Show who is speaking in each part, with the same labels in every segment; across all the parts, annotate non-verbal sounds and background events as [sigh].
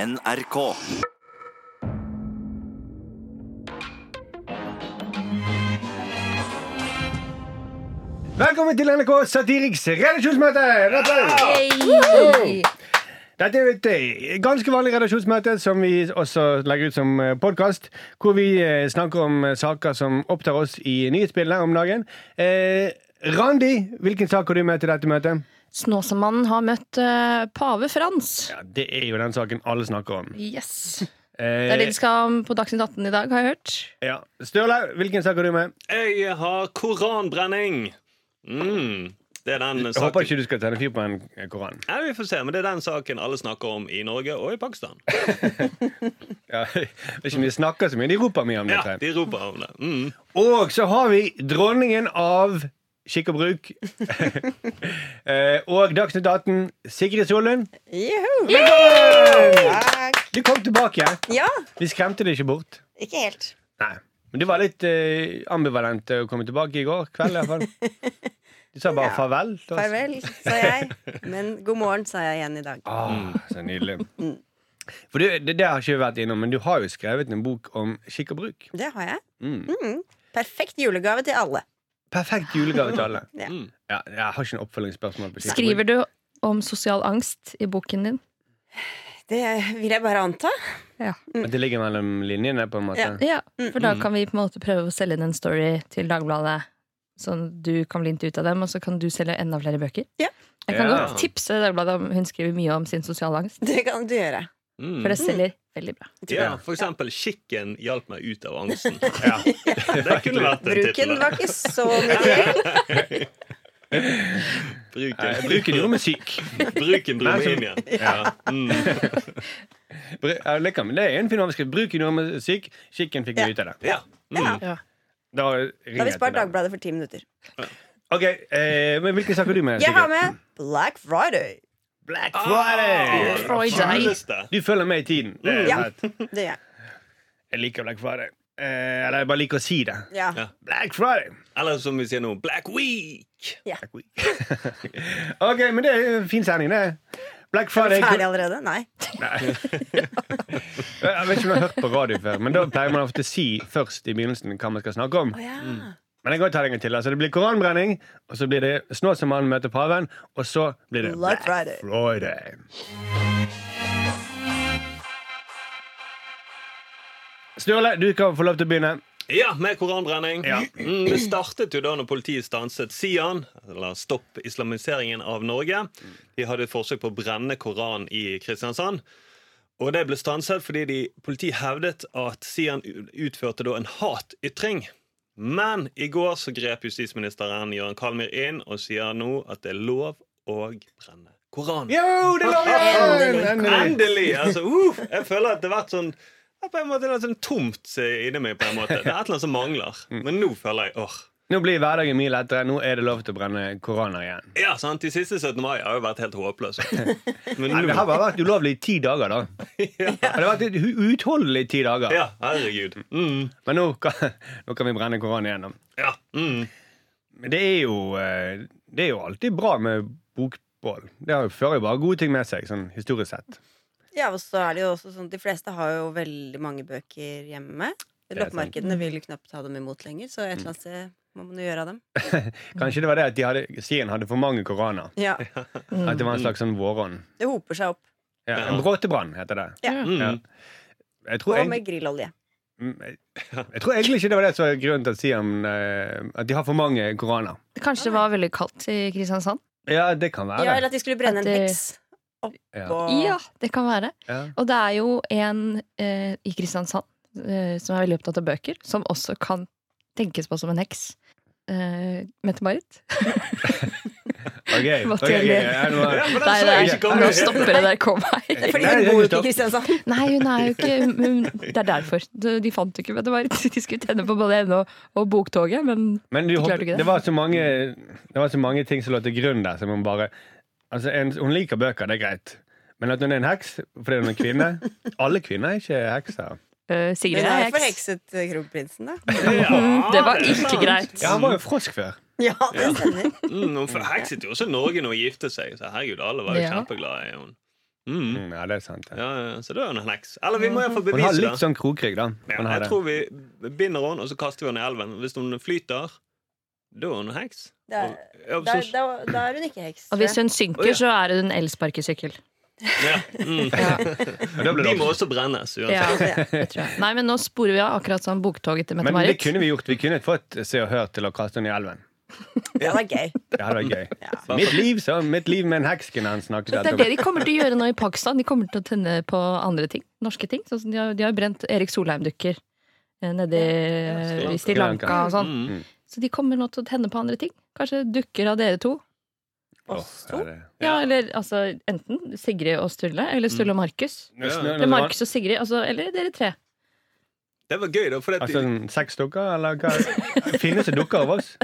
Speaker 1: NRK.
Speaker 2: Velkommen til NRK Satiriks redaksjonsmøte! Applaus!
Speaker 3: Yay!
Speaker 2: Dette er jo et eh, ganske vanlig redaksjonsmøte som vi også legger ut som podkast, hvor vi eh, snakker om eh, saker som opptar oss i nyhetsbildet om dagen. Eh, Randi, hvilken sak har du med til dette møtet?
Speaker 3: Snåsamannen har møtt eh, pave Frans.
Speaker 2: Ja, Det er jo den saken alle snakker om.
Speaker 3: Yes. Det er det
Speaker 2: Eh,
Speaker 3: de skal ha på Dagsnytt 18 i dag, har jeg hørt.
Speaker 2: ja. Sturle, hvilken sak har du med?
Speaker 4: Jeg har koranbrenning. Mm. Det er den
Speaker 2: Jeg håper
Speaker 4: saken
Speaker 2: ikke du skal tenne fyr på en koran.
Speaker 4: Nei, Vi får se, men det er den saken alle snakker om i Norge og i Pakistan.
Speaker 2: Ja, [laughs] det er ikke mye snakker så mye, de roper mye om
Speaker 4: Ja,
Speaker 2: dette.
Speaker 4: De roper om det. Mm.
Speaker 2: Og så har vi dronningen av skikk og bruk. Eh, og Dagsnytt 18, Sigrid Sollund.
Speaker 5: Juhu! Takk.
Speaker 2: Du kom tilbake.
Speaker 5: Ja,
Speaker 2: Vi skremte deg ikke bort.
Speaker 5: ikke helt.
Speaker 2: Nei, Men du var litt eh, ambivalent til å komme tilbake i går kveld. i hvert fall Du sa bare farvel. til oss.
Speaker 5: Farvel, sa jeg. Men god morgen, sa jeg igjen i dag.
Speaker 2: Ah, så nydelig. For du, det, det har ikke vi vært innom, men du har jo skrevet en bok om skikk og bruk.
Speaker 5: Det har jeg.
Speaker 2: Mm.
Speaker 5: Mm. Perfekt julegave til alle.
Speaker 2: Perfekt julegave til alle.
Speaker 5: Ja.
Speaker 4: Mm.
Speaker 2: Ja, jeg har ikke noe oppfølgingsspørsmål. på skikk og bruk.
Speaker 3: Skriver du om sosial angst i boken din?
Speaker 5: Det vil jeg bare anta.
Speaker 2: At det ligger mellom linjene, på en måte.
Speaker 5: Ja.
Speaker 3: Ja, Mm. for da kan vi på en måte prøve å selge inn en story til Dagbladet. Sånn du kan bli litt ut av dem, og så kan du selge enda flere bøker.
Speaker 5: Ja.
Speaker 3: Jeg kan
Speaker 2: Ja.
Speaker 3: godt tipse Dagbladet om hun skriver mye om sin sosiale angst,
Speaker 5: Det kan du gjøre.
Speaker 4: Mm.
Speaker 3: for det selger veldig bra.
Speaker 4: Ja, for eksempel Kikken hjalp meg ut av angsten.
Speaker 2: [laughs] Ja.
Speaker 4: Det kunne vært en
Speaker 5: Bruken
Speaker 4: tittel. da.
Speaker 5: var ikke så mye til.
Speaker 2: Eh,
Speaker 4: Bruken.
Speaker 2: Bruken gjorde meg syk.
Speaker 4: Bruken dro
Speaker 2: Nei,
Speaker 4: meg
Speaker 2: så-
Speaker 4: inn igjen. Ja. Mm.
Speaker 2: Bru- ja, eh, det kan- Det er en fin overskrift. Bruken gjorde meg syk, skikken fikk meg ut av det.
Speaker 4: Ja. Mm.
Speaker 3: Ja.
Speaker 2: Da har
Speaker 5: Da har vi spart Dagbladet for ti minutter.
Speaker 2: Ok, eh, men Hvilke saker har du med?
Speaker 5: Jeg
Speaker 2: Sigrid?
Speaker 5: har med Black Friday.
Speaker 2: Black
Speaker 4: Ah,
Speaker 2: Friday!
Speaker 3: Friday.
Speaker 4: fineste.
Speaker 2: Du følger med i tiden. Det er
Speaker 5: Mm, Ja.
Speaker 2: fett.
Speaker 5: Det gjør jeg.
Speaker 2: Jeg liker Black Friday. Eh, eller jeg bare liker å si det.
Speaker 5: Ja.
Speaker 4: Ja.
Speaker 2: Black Friday! [laughs]
Speaker 4: Eller som vi sier nå, Black Week.
Speaker 2: Black week. ok, men det er en fin sending, det. Black Friday
Speaker 5: Ferdig allerede? Nei.
Speaker 2: Jeg vet ikke om du har hørt på radio før, men da pleier man ofte å si først i begynnelsen hva man skal snakke om.
Speaker 5: Å ja.
Speaker 2: Men jeg kan ta det en gang til. Altså, det blir koranbrenning, og så blir det Snåsamannen møter paven, og så blir det
Speaker 5: Black Friday.
Speaker 2: Friday. Sturle, du kan få lov til å begynne.
Speaker 4: Ja, med koranbrenning.
Speaker 2: Ja.
Speaker 4: Mm, det startet jo da når politiet stanset Sian, eller Stopp islamiseringen av Norge. De hadde et forsøk på å brenne Koran i Kristiansand. Og det ble stanset fordi de, politiet hevdet at Sian u- utførte da en hatytring. Men i går så grep justisministeren Jøran Kalmyr inn og sier nå at det er lov å brenne Koran.
Speaker 2: Jo, det lover jeg! Endelig.
Speaker 4: Endelig! Altså, uh, jeg føler at det har vært sånn det er på en måte litt sånn tomt eh, inni meg. på en måte Det er et eller annet som mangler.
Speaker 2: Mm.
Speaker 4: Men nå føler jeg åh
Speaker 2: Nå blir hverdagen mye lettere. Nå er det lov til å brenne koraner igjen.
Speaker 4: Ja, sant? De siste 17. mai har jo vært helt håpløse. Men
Speaker 2: Nei,
Speaker 4: nå
Speaker 2: det har bare vært ulovlig i ti dager,
Speaker 5: [laughs]
Speaker 2: da. Det har vært uutholdelig i ti dager.
Speaker 4: Ja, herregud. Mm,
Speaker 2: Men nå kan, nå kan vi brenne koranen igjennom.
Speaker 4: ja, mm.
Speaker 2: Men det er jo, eh, det er jo alltid bra med bokbål. Det har jo- fører jo bare gode ting med seg, sånn historisk sett.
Speaker 5: ja, og så er det jo også sånn De fleste har jo veldig mange bøker hjemme.
Speaker 2: er sant.
Speaker 5: Loppemarkedene vil jo knapt ha dem imot lenger, så et eller annet sted må man jo gjøre av dem.
Speaker 2: Kanskje det var det at de hadde, Sien hadde for mange koraner.
Speaker 5: Ja,
Speaker 2: At det
Speaker 5: Mm.
Speaker 2: var en slags sånn våronn.
Speaker 5: Det hoper seg opp.
Speaker 2: Ja, en bråtebrann heter det.
Speaker 4: Mm.
Speaker 2: Ja. Jeg tror,
Speaker 5: Og
Speaker 2: egent-
Speaker 5: med grillolje.
Speaker 2: mm, jeg, jeg tror egentlig ikke det var det som var grunnen til at Sien eh, At de har for mange koraner.
Speaker 3: Kanskje det var veldig kaldt i Kristiansand?
Speaker 2: Ja, det kan være
Speaker 5: Ja,
Speaker 2: det.
Speaker 5: eller at de skulle brenne
Speaker 3: At
Speaker 5: en
Speaker 3: det-
Speaker 5: heks oppå
Speaker 3: Ja, det kan være.
Speaker 2: Ja.
Speaker 3: Og det er jo en eh, i Kristiansand eh, som er veldig opptatt av bøker, som også kan tenkes på som en heks. Eh, Mette-Marit.
Speaker 2: Ok, ok, ok, ja, nå er-
Speaker 4: Ja, men den
Speaker 3: Nei,
Speaker 4: så
Speaker 3: nei,
Speaker 4: jeg ikke komme.
Speaker 3: nå stopper det der, kom
Speaker 4: [laughs]
Speaker 3: her.
Speaker 5: Fordi
Speaker 2: Nei,
Speaker 5: hun
Speaker 2: det er
Speaker 5: bor
Speaker 2: ikke
Speaker 5: jo ikke
Speaker 2: sant. [laughs]
Speaker 5: i Kristiansand.
Speaker 3: Nei, hun er jo ikke hun, Det er derfor. De, de fant jo ikke Mette-Marit. De skulle tjene på både henne og, og Boktoget, men
Speaker 2: Men du,
Speaker 3: klarte
Speaker 2: hopp-
Speaker 3: ikke
Speaker 2: det?
Speaker 3: det.
Speaker 2: var så mange, det var så mange ting som lå til grunn der. Som hun, bare, altså en, hun liker bøker, det er greit. Men at hun er en heks fordi hun er kvinne [laughs] Alle kvinner er ikke hekser.
Speaker 3: eh,
Speaker 5: Hun
Speaker 3: Sigrid er
Speaker 5: har jo
Speaker 3: heks.
Speaker 5: forhekset eh, kronprinsen,
Speaker 4: [laughs]
Speaker 5: da.
Speaker 4: Ja,
Speaker 3: Mm, Det var
Speaker 4: er
Speaker 3: ikke
Speaker 4: sant.
Speaker 3: greit.
Speaker 2: Ja, Han var jo frosk før.
Speaker 5: Ja, det stemmer.
Speaker 4: Mm, hun forhekset jo også Norge når hun giftet seg. Så herregud, alle var jo
Speaker 3: Ja.
Speaker 4: kjempeglade i henne. Mm.
Speaker 2: Mm, ja, det er sant. Ja.
Speaker 4: Ja, ja, så da er hun en heks. Eller vi må iallfall
Speaker 2: Hun har
Speaker 4: bevise
Speaker 2: litt
Speaker 4: det.
Speaker 2: sånn krokrygg, da.
Speaker 4: Ja,
Speaker 2: Hun har
Speaker 4: jeg
Speaker 2: det.
Speaker 4: tror vi binder henne, og så kaster vi henne i elven. Hvis hun flyter, da er hun en heks.
Speaker 5: Da,
Speaker 4: Ja,
Speaker 5: da,
Speaker 4: så-
Speaker 5: da, da er hun ikke heks.
Speaker 3: Og hvis hun
Speaker 4: Å, ja.
Speaker 3: synker, så er hun en elsparkesykkel.
Speaker 4: Ja. Mm.
Speaker 3: Ja,
Speaker 2: da blir [laughs] det
Speaker 4: De må også brennes uansett.
Speaker 3: ja,
Speaker 5: Ja.
Speaker 3: det tror jeg. Nei, men nå sporer vi av, akkurat som boktoget til
Speaker 2: Men det
Speaker 3: Mette-Marit.
Speaker 2: kunne vi gjort. Vi kunne fått Se og Hør til å kaste henne i elven.
Speaker 5: Det var gøy.
Speaker 2: Det hadde vært [laughs] gøy.
Speaker 5: Ja.
Speaker 2: Mitt liv, så, mitt liv med en heks kunne han snakket
Speaker 3: Det
Speaker 2: alt
Speaker 3: er
Speaker 2: om.
Speaker 3: det de kommer til å gjøre nå i Pakistan. De kommer til å tenne på andre ting. Norske ting. Sånn som de har, de har brent Erik Solheim-dukker eh, nede i-
Speaker 4: Ja,
Speaker 3: i Sri
Speaker 4: Sri
Speaker 2: Lanka.
Speaker 3: Lanka og sånn.
Speaker 4: Mm.
Speaker 3: Så de kommer nå til å tenne på andre ting. Kanskje dukker av dere to.
Speaker 2: Åh,
Speaker 5: Oss
Speaker 2: ja,
Speaker 5: to.
Speaker 2: det-
Speaker 3: Ja, eller altså enten Sigrid og Sturle, eller Sturle
Speaker 4: Mm.
Speaker 3: og Markus.
Speaker 2: Nå-
Speaker 4: Ja.
Speaker 2: nå-
Speaker 3: Eller
Speaker 2: nå-
Speaker 3: Markus og Sigrid, altså, eller dere tre.
Speaker 4: Det var gøy, da. For at
Speaker 2: Altså
Speaker 4: [laughs]
Speaker 2: sånn seks dukker, eller hva? Finnes det dukker av oss?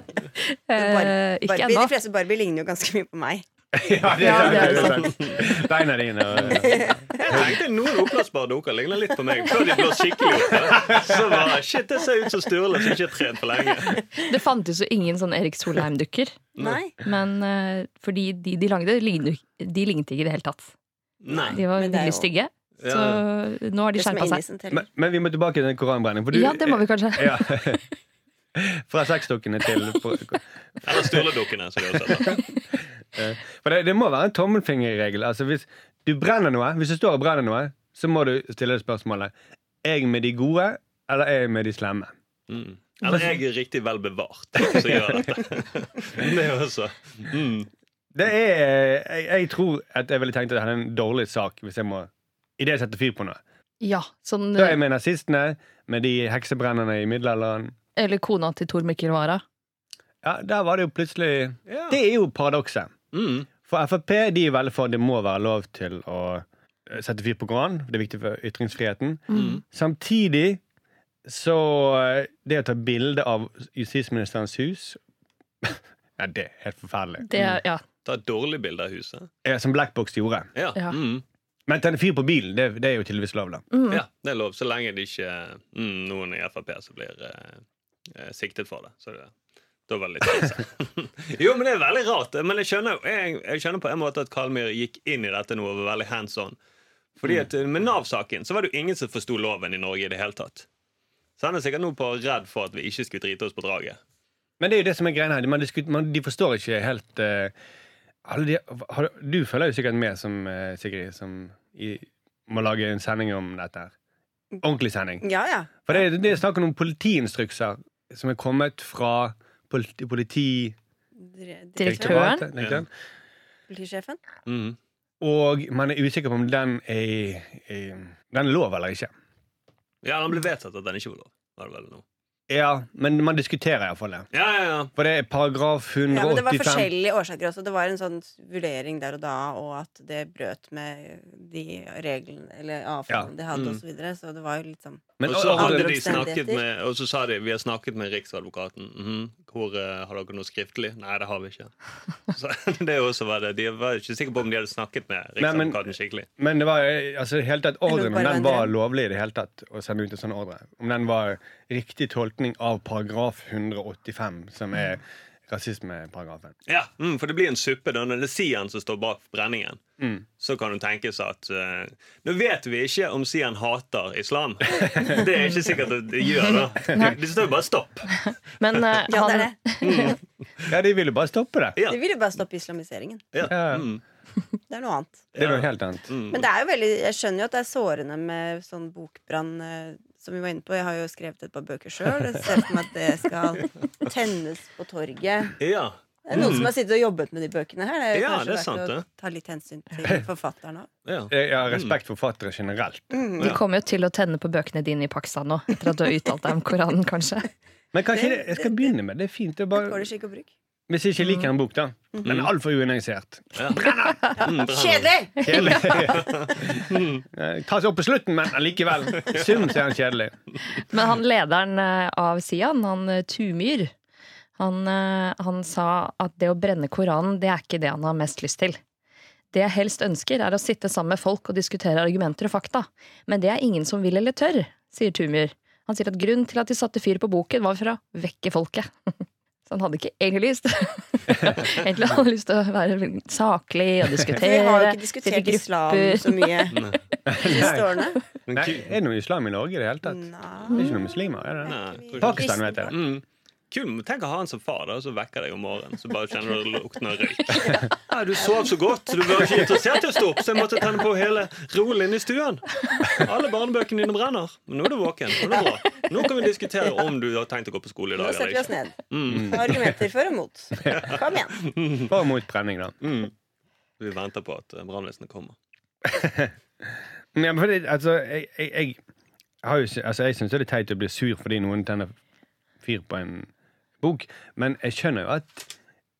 Speaker 3: Eh, ikke
Speaker 5: Barbie,
Speaker 3: ennå.
Speaker 5: de fleste Barbie ligner jo ganske mye på meg.
Speaker 2: Ja, det
Speaker 3: Ja,
Speaker 2: er sant.
Speaker 3: det er
Speaker 2: sant. Beina dine
Speaker 3: [laughs]
Speaker 2: og
Speaker 4: Jeg tenkte noen oppblåsbare dukker ligner litt på meg. Før de blåste skikkelig opp. ja. Så bare, shit, det ser ut som Sturle som ikke har trent på lenge.
Speaker 3: Det fantes jo ingen sånn Erik Solheim-dukker.
Speaker 4: [laughs]
Speaker 5: Nei,
Speaker 3: Men eh, fordi de de lagde, lignet jo- de lignet ikke i det hele tatt.
Speaker 4: Nei.
Speaker 3: De var
Speaker 5: Men det er
Speaker 3: veldig
Speaker 5: jo-
Speaker 3: stygge. Så
Speaker 4: Ja.
Speaker 3: nå har de
Speaker 5: det som er
Speaker 3: skjerpa
Speaker 5: inni
Speaker 3: seg.
Speaker 5: som teller.
Speaker 2: men, men vi må tilbake til den koranbrenningen. for du-
Speaker 3: Ja, det må vi kanskje.
Speaker 2: [laughs] Ja. Fra sexdukkene til
Speaker 4: Eller Sturle-dukkene, som de også heter.
Speaker 2: eh, For det, det må være en tommelfingerregel. Altså, hvis du brenner noe, hvis du står og brenner noe, så må du stille deg spørsmålet Er jeg med de gode, eller er jeg med de slemme?
Speaker 4: Mm. Eller jeg er riktig vel bevart som gjør dette. [laughs] Det er også. Mm.
Speaker 2: Det er, eh, jeg, jeg tror at jeg ville tenkt at jeg hadde en dårlig sak hvis jeg må i det jeg setter fyr på noe.
Speaker 3: Ja, sånn,
Speaker 2: Da er jeg med nazistene, med de heksebrennerne i middelalderen.
Speaker 3: eller kona til Tor Mikkel Wara.
Speaker 2: Ja, der var det jo plutselig
Speaker 4: Ja.
Speaker 2: Det er jo paradokset.
Speaker 4: Mm.
Speaker 2: For Frp de er veldig for det må være lov til å eh, sette fyr på Koranen. Det er viktig for ytringsfriheten.
Speaker 4: Mm.
Speaker 2: Samtidig så eh, Det å ta bilde av justisministerens hus [laughs] Ja, det er helt forferdelig.
Speaker 3: Det, ja.
Speaker 4: Ta et dårlig bilde av huset.
Speaker 2: Eh, Som Blackbox gjorde.
Speaker 4: Ja.
Speaker 3: Ja.
Speaker 4: Mm.
Speaker 2: Men tenne fyr på bilen, det, det er jo tydeligvis lov, da.
Speaker 3: Mm.
Speaker 4: ja, det er lov. Så lenge det ikke er mm, noen i Frp som blir eh, eh, siktet for det. Så det da var det litt krise. [laughs] Jo, men det er veldig rart. Men jeg skjønner, jo- jeg, jeg skjønner på en måte at Kalmyr gikk inn i dette nå og var veldig hands on. Fordi at eh, Med Nav-saken så var det jo ingen som forsto loven i Norge i det hele tatt. Så han er sikkert nå på redd for at vi ikke skulle drite oss på draget.
Speaker 2: Men det er jo det som er greia her. Man diskut- man, de forstår ikke helt eh, alle de, har, Du følger jo sikkert med, som, eh, Sigrid, som i, må lage en sending om dette. her. Ordentlig sending.
Speaker 5: Ja, ja.
Speaker 2: For det, er- det er snakk om noen politiinstrukser som er kommet fra politi, politidirektoratet.
Speaker 5: Dire-
Speaker 3: Direktøren.
Speaker 2: direktøren.
Speaker 5: Politisjefen.
Speaker 4: Mm.
Speaker 2: Og man er usikker på om den er, er Den er lov eller ikke.
Speaker 4: Ja, Han ble vedtatt at den ikke var lov. Var det vel nå?
Speaker 2: Ja, men man diskuterer iallfall det.
Speaker 4: Ja, ja, ja.
Speaker 2: For det er paragraf
Speaker 5: Ja, men det var
Speaker 2: 185
Speaker 5: forskjellige årsaker også. Det var en sånn vurdering der og da, og at det brøt med de reglene eller avtalene
Speaker 2: Ja.
Speaker 5: de hadde,
Speaker 4: Mm.
Speaker 5: og så videre. Så det var jo litt sånn
Speaker 2: Men-
Speaker 4: og, så hadde
Speaker 5: andre
Speaker 4: de snakket
Speaker 5: omstendigheter.
Speaker 4: med, og så sa de vi har snakket med Riksadvokaten. Mhm, Hvor eh, Har dere noe skriftlig? Nei, det har vi ikke. Så, [laughs] det er også var det. De var ikke sikre på om de hadde snakket med
Speaker 2: Nei, men-
Speaker 4: Riksadvokaten liksom skikkelig.
Speaker 2: Men det var eh, altså, i det hele tatt
Speaker 5: Jeg
Speaker 2: ordren,
Speaker 5: lurer
Speaker 2: om
Speaker 5: bare
Speaker 2: den
Speaker 5: på
Speaker 2: var
Speaker 5: André.
Speaker 2: lovlig i det hele tatt å sende ut en sånn ordre. Om den var riktig tolkning av paragraf 185, som er
Speaker 5: Mm.
Speaker 2: rasismeparagrafen.
Speaker 4: Ja, mm, For det blir en suppe da når det er Sian som står bak brenningen.
Speaker 2: Mm.
Speaker 4: Så kan det tenkes at eh, Nå vet vi ikke om Sian hater islam. Det er ikke sikkert at det gjør det. Det står jo bare 'stopp'.
Speaker 3: Men eh,
Speaker 5: Ja, det
Speaker 3: han,
Speaker 5: er det.
Speaker 2: Ja, de ville bare stoppe det.
Speaker 4: Ja.
Speaker 5: De vil jo bare stoppe islamiseringen.
Speaker 4: Ja.
Speaker 2: Ja.
Speaker 4: Mm,
Speaker 5: Det er noe annet.
Speaker 2: Det er noe helt annet.
Speaker 4: mm.
Speaker 5: Men det er jo veldig, jeg skjønner jo at det er sårende med sånn bokbrann eh, som vi var inne på. Jeg har jo skrevet et par bøker sjøl. Jeg ser for meg at det skal tennes på torget.
Speaker 4: Ja.
Speaker 5: Det er noen som har sittet og jobbet med de bøkene her. Det er jo
Speaker 4: Ja,
Speaker 5: kanskje
Speaker 4: det er
Speaker 5: verdt
Speaker 4: sant,
Speaker 5: å
Speaker 4: det.
Speaker 5: ta litt hensyn til forfatteren òg.
Speaker 2: [laughs]
Speaker 4: ja.
Speaker 2: Eh, Ja, respekt for forfattere generelt.
Speaker 3: de kommer jo til å tenne på bøkene dine i Pakistan nå, etter at du har uttalt deg om Koranen, kanskje.
Speaker 2: Men kanskje det, jeg skal begynne med det. er fint. Det er Mhm. bare,
Speaker 5: Går det skikk og bruk?
Speaker 2: hvis jeg ikke liker en bok, da. Den er altfor [laughs] unyansert.
Speaker 4: Mm, bra.
Speaker 5: Kjedelig!
Speaker 2: Kjedelig. [laughs] Eh, Tas opp på slutten, men allikevel. I Sum så er han kjedelig.
Speaker 3: Men han lederen eh, av Sian, han eh, Tumyr, han, eh, han sa at det å brenne Koranen, det er ikke det han har mest lyst til. Det jeg helst ønsker, er å sitte sammen med folk og diskutere argumenter og fakta. Men det er ingen som vil eller tør, sier Tumyr. Han sier at grunnen til at de satte fyr på boken, var for å vekke folket. [laughs] Så han hadde ikke egentlig lyst. [laughs] egentlig hadde han lyst til å være veldig saklig og
Speaker 5: [laughs] For vi
Speaker 3: diskutere.
Speaker 5: har jo
Speaker 3: sitte
Speaker 5: ikke
Speaker 3: i
Speaker 5: diskutert
Speaker 3: grupper.
Speaker 5: islam så mye
Speaker 4: Nei.
Speaker 5: siste årene.
Speaker 4: Men
Speaker 2: Nei,
Speaker 4: ku-
Speaker 2: er det noe islam i Norge i det hele tatt? Det er
Speaker 5: Nei.
Speaker 2: ikke noen muslimer? er det det?
Speaker 4: Nei, tror ikke.
Speaker 2: Pakistan, vet jeg.
Speaker 4: Mm. Kul, Tenk å ha han som far, da, og så vekker deg om morgenen. Så bare kjenner du lukten av røyk.
Speaker 5: [laughs]
Speaker 4: Ja, du sov så godt, så du var ikke interessert i å stå opp, så jeg måtte tenne på hele rolen inne i stuen. Alle barnebøkene dine brenner. Men nå er du våken. Nå, er det bra. nå kan vi diskutere om du har tenkt å gå på skole i
Speaker 5: Nå
Speaker 4: dag
Speaker 5: setter vi
Speaker 4: eller
Speaker 5: oss
Speaker 4: ikke.
Speaker 5: ned.
Speaker 4: Mm.
Speaker 5: Argumenter for og mot. Kom igjen.
Speaker 2: For og mot brenning, da.
Speaker 4: Mm. Vi venter på at eh, brannvesenet kommer.
Speaker 2: Ja, men fordi, altså, jeg, jeg, jeg, har jo, sy- altså, jeg syns det er litt teit å bli sur fordi noen tenner fyr på en bok, men jeg skjønner jo at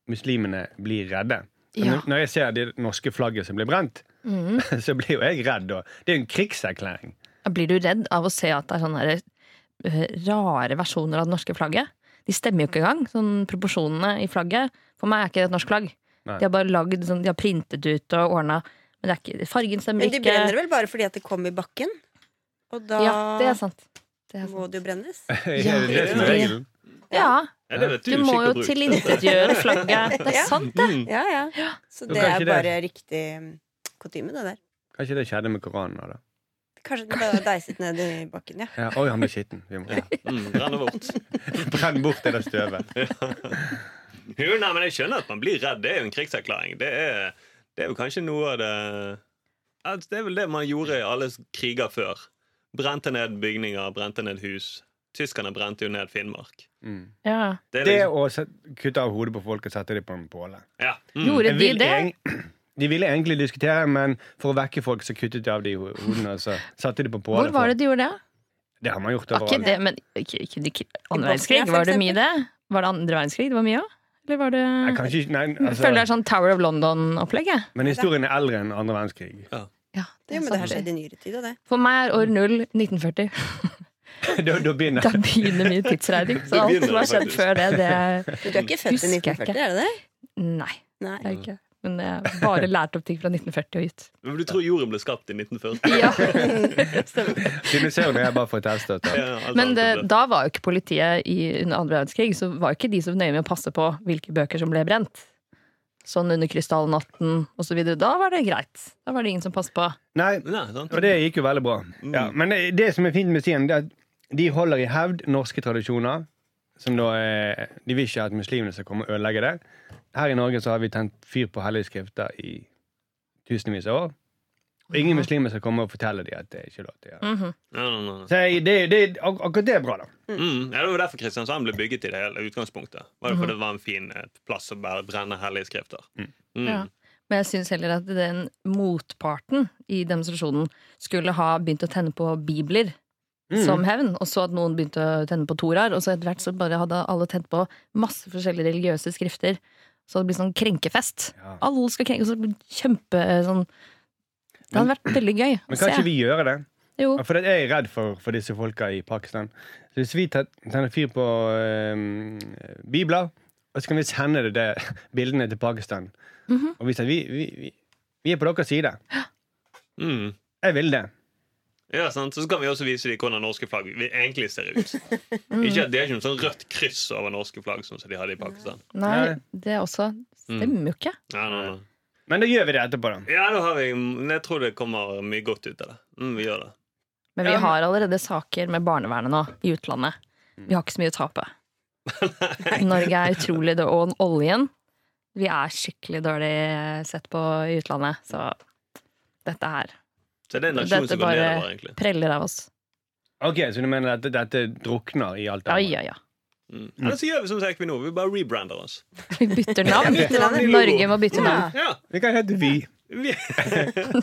Speaker 2: muslimene blir redde. Men
Speaker 3: Ja.
Speaker 2: Når jeg ser det norske flagget som blir brent, [laughs] så blir jo jeg redd. Og det er jo en krigserklæring. [laughs]
Speaker 3: Blir du redd av å se at det er sånne her, eh, rare versjoner av det norske flagget? De stemmer jo ikke engang, sånn proporsjonene i flagget. For meg er ikke det et norsk flagg.
Speaker 2: Nei.
Speaker 3: De har bare lagd sånn, de har printet ut og ordna. Men det er ikke, fargen stemmer
Speaker 5: Men de brenner
Speaker 3: ikke.
Speaker 5: vel bare fordi at det kom i bakken? Og da
Speaker 3: Ja, det er sant. Det er
Speaker 5: må
Speaker 3: sant.
Speaker 5: det jo brennes.
Speaker 2: Ja, det er det som er
Speaker 4: det-
Speaker 2: regelen.
Speaker 3: Ja,
Speaker 4: Ja, det vet
Speaker 3: du
Speaker 4: du,
Speaker 3: må
Speaker 4: skikk
Speaker 3: jo
Speaker 4: og bruk.
Speaker 3: tilintetgjøre flagget. Det er
Speaker 5: [laughs] Ja.
Speaker 3: sant, det.
Speaker 5: Ja, ja. Så
Speaker 2: Men
Speaker 5: det
Speaker 2: kanskje
Speaker 5: er
Speaker 2: det-
Speaker 5: bare riktig mm, kutyme, det der.
Speaker 2: Kanskje det skjedde med Koranen nå, da.
Speaker 5: Kanskje den bare deiset ned i bakken, ja.
Speaker 2: Ja, oi, han ble skitten. Vi må [laughs]
Speaker 4: Mm, brenner bort.
Speaker 2: brenne bort det der støvet.
Speaker 4: Jo, nei, men jeg skjønner at man blir redd. Det er jo en krigserklæring. Det er, det er jo kanskje noe av det at Det er vel det man gjorde i alle kriger før. Brente ned bygninger, brente ned hus. Tyskerne brente jo ned Finnmark.
Speaker 2: Mm.
Speaker 3: Ja.
Speaker 4: Det er
Speaker 2: Det
Speaker 4: liksom,
Speaker 2: å set- kutte av hodet på folk og sette dem på en påle.
Speaker 4: ja. mm.
Speaker 3: Gjorde
Speaker 2: Jeg
Speaker 3: de
Speaker 2: vil
Speaker 3: det?
Speaker 2: egent- De ville egentlig diskutere, men for å vekke folk så kuttet de av de ho- hodene. Og så satte de på påle.
Speaker 3: Hvor var
Speaker 2: for-
Speaker 3: det de gjorde det?
Speaker 2: Det har man gjort
Speaker 3: Var ikke
Speaker 2: overalt.
Speaker 3: det, men ikke, ikke, ikke, andre
Speaker 5: Bosnia,
Speaker 3: verdenskrig,
Speaker 5: for
Speaker 3: var det mye
Speaker 5: eksempel?
Speaker 3: det? Var det andre verdenskrig det var mye av? Eller var det
Speaker 2: Nei, kanskje ikke- nei,
Speaker 3: Jeg sånn. Føler det
Speaker 2: altså,
Speaker 3: er sånn Tower of London-opplegg, jeg.
Speaker 2: men historien er eldre enn andre verdenskrig. [laughs]
Speaker 3: Ja,
Speaker 5: Jo, men det har skjedd i nyere tid, og det.
Speaker 3: For meg er år null 1940.
Speaker 2: da, da begynner
Speaker 3: Da begynner min tidsregning. Så
Speaker 4: Da
Speaker 3: alt
Speaker 4: begynner
Speaker 3: som har
Speaker 4: det
Speaker 3: skjedd
Speaker 4: faktisk.
Speaker 3: før det, det
Speaker 5: Du er ikke født i
Speaker 3: Husker jeg ikke.
Speaker 5: 1940, er det det?
Speaker 3: Nei.
Speaker 5: Nei.
Speaker 3: Det er ikke. Men jeg har bare lært opp ting fra 1940 og ut.
Speaker 4: Men Du tror jorden ble skapt i 1940?
Speaker 3: Ja.
Speaker 4: [laughs]
Speaker 2: dinosaurene er bare for å teste dette.
Speaker 4: Ja, alt
Speaker 3: Men
Speaker 4: annet
Speaker 3: det,
Speaker 4: ble-
Speaker 3: da var jo ikke politiet i, under andre verdenskrig så var jo ikke de så nøye med å passe på hvilke bøker som ble brent. Sånn under krystallnatten osv. Da var det greit. Da var det ingen som passet på.
Speaker 2: Nei,
Speaker 4: Nei, sant?
Speaker 2: og det gikk jo veldig bra. Ja, men det, det som er fint med Siem, det er at de holder i hevd norske tradisjoner. Som da er, De vil ikke at muslimene skal komme og ødelegge det. Her i Norge så har vi tent fyr på hellige skrifter i tusenvis av år. Og ingen muslimer skal komme og fortelle dem at det er ikke lov til å gjøre.
Speaker 3: Mhm.
Speaker 4: Nei, nei, nei, nei.
Speaker 2: Så jeg, det, det, ak akkurat det er bra, da.
Speaker 4: Mm. Ja, det var derfor Kristiansand ble bygget i det hele utgangspunktet. Var det
Speaker 3: Mhm.
Speaker 4: fordi det var en fin eh, plass å bare brenne hellige skrifter. Mm.
Speaker 3: Ja. Men jeg syns heller at den motparten i demonstrasjonen skulle ha begynt å tenne på bibler
Speaker 2: Mm.
Speaker 3: som hevn, og så at noen begynte å tenne på toraer, og så etter hvert så bare hadde alle tent på masse forskjellige religiøse skrifter. Så det blir sånn krenkefest.
Speaker 2: Ja.
Speaker 3: Alle skal krenke, og så blir det kjempe eh, sånn Det hadde vært veldig gøy å
Speaker 2: Men kan
Speaker 3: se.
Speaker 2: ikke vi gjøre det?
Speaker 3: Jo.
Speaker 2: For jeg er redd for, for disse folka i Pakistan. Så hvis vi tar- tenner fyr på eh, bibler, og så kan vi sende det, det [laughs] bildene til Pakistan Og vise at vi, vi, vi, vi er på deres side.
Speaker 4: Mm.
Speaker 2: Jeg vil det.
Speaker 4: Ja, sant? Så skal vi også vise dem hvordan norske flagg vi egentlig ser ut.
Speaker 3: Mm.
Speaker 4: Ikke at Det er ikke noe sånn rødt kryss over norske flagg sånn som de hadde i Pakistan.
Speaker 3: Nei,
Speaker 2: Nei.
Speaker 3: det også stemmer jo ikke.
Speaker 4: Nei, nei, nei.
Speaker 2: Men da gjør vi det etterpå, da.
Speaker 4: Ja, da har vi, men jeg tror det kommer mye godt ut av det. Mm, vi gjør det.
Speaker 3: Men vi har allerede saker med barnevernet nå, i utlandet. Vi har ikke så mye å tape. Norge er utrolig dårlig, og oljen Vi er skikkelig dårlig sett på i utlandet, så dette her
Speaker 4: Så det er en nasjon
Speaker 3: Dette
Speaker 4: som går
Speaker 3: bare
Speaker 4: nedover, egentlig.
Speaker 3: preller av oss.
Speaker 2: Ok, Så du mener at dette drukner i alt
Speaker 3: Ja,
Speaker 2: annet?
Speaker 3: ja, ja.
Speaker 4: Mm. Eller så gjør vi som til Equinor. Vi bare rebrander oss.
Speaker 3: Vi bytter
Speaker 5: [laughs]
Speaker 3: navn.
Speaker 5: Bytter navn.
Speaker 3: Norge må bytte navn.
Speaker 4: Ja,
Speaker 2: Vi kan hete Vi.
Speaker 4: Vi,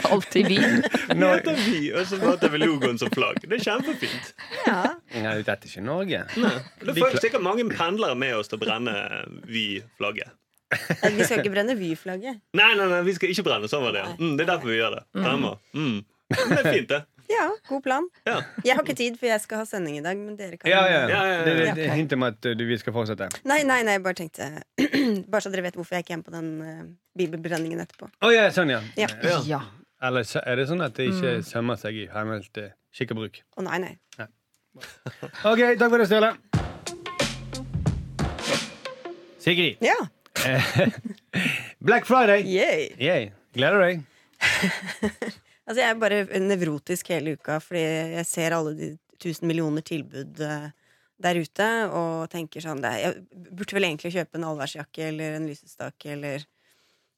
Speaker 3: Alltid vi.
Speaker 4: vi heter Vi, og så heter vi logoen som flagg. Det er kjempefint.
Speaker 5: Ja.
Speaker 2: Nei, dette er ikke Norge.
Speaker 4: Da får vi sikkert mange pendlere med oss til å brenne eh, Vi-flagget.
Speaker 5: [laughs] Nei, Vi skal ikke brenne Vy-flagget.
Speaker 4: Nei, nei, nei, vi skal ikke brenne. Sånn var det. Mm, det er derfor vi gjør det. Stemmer. Mm. Men det er fint, det.
Speaker 5: Ja, god plan.
Speaker 4: Ja.
Speaker 5: Jeg har ikke tid, for jeg skal ha sending i dag, men dere kan
Speaker 2: Ja, ja.
Speaker 4: Ja, ja, ja.
Speaker 2: Det, det, det er hint om at uh, vi skal fortsette.
Speaker 5: Nei, nei, nei, jeg bare tenkte [clears throat] Bare så dere vet hvorfor jeg ikke er hjemme på den eh, bibelbrenningen etterpå.
Speaker 2: Å ja, sånn, ja.
Speaker 5: Ja.
Speaker 3: Ja.
Speaker 2: Eller så- er det sånn at det ikke sømmer seg i eh, henhold til skikk og bruk?
Speaker 5: Å nei, nei.
Speaker 2: Ok, takk for det, Sturle. Sigrid,
Speaker 5: Ja.
Speaker 2: Black Friday!
Speaker 5: Yay.
Speaker 2: Yay. Gleder du deg?
Speaker 5: Altså, jeg er bare nevrotisk hele uka fordi jeg ser alle de tusen millioner tilbud eh, der ute og tenker sånn det er, Jeg burde vel egentlig kjøpe en allværsjakke eller en lysestake eller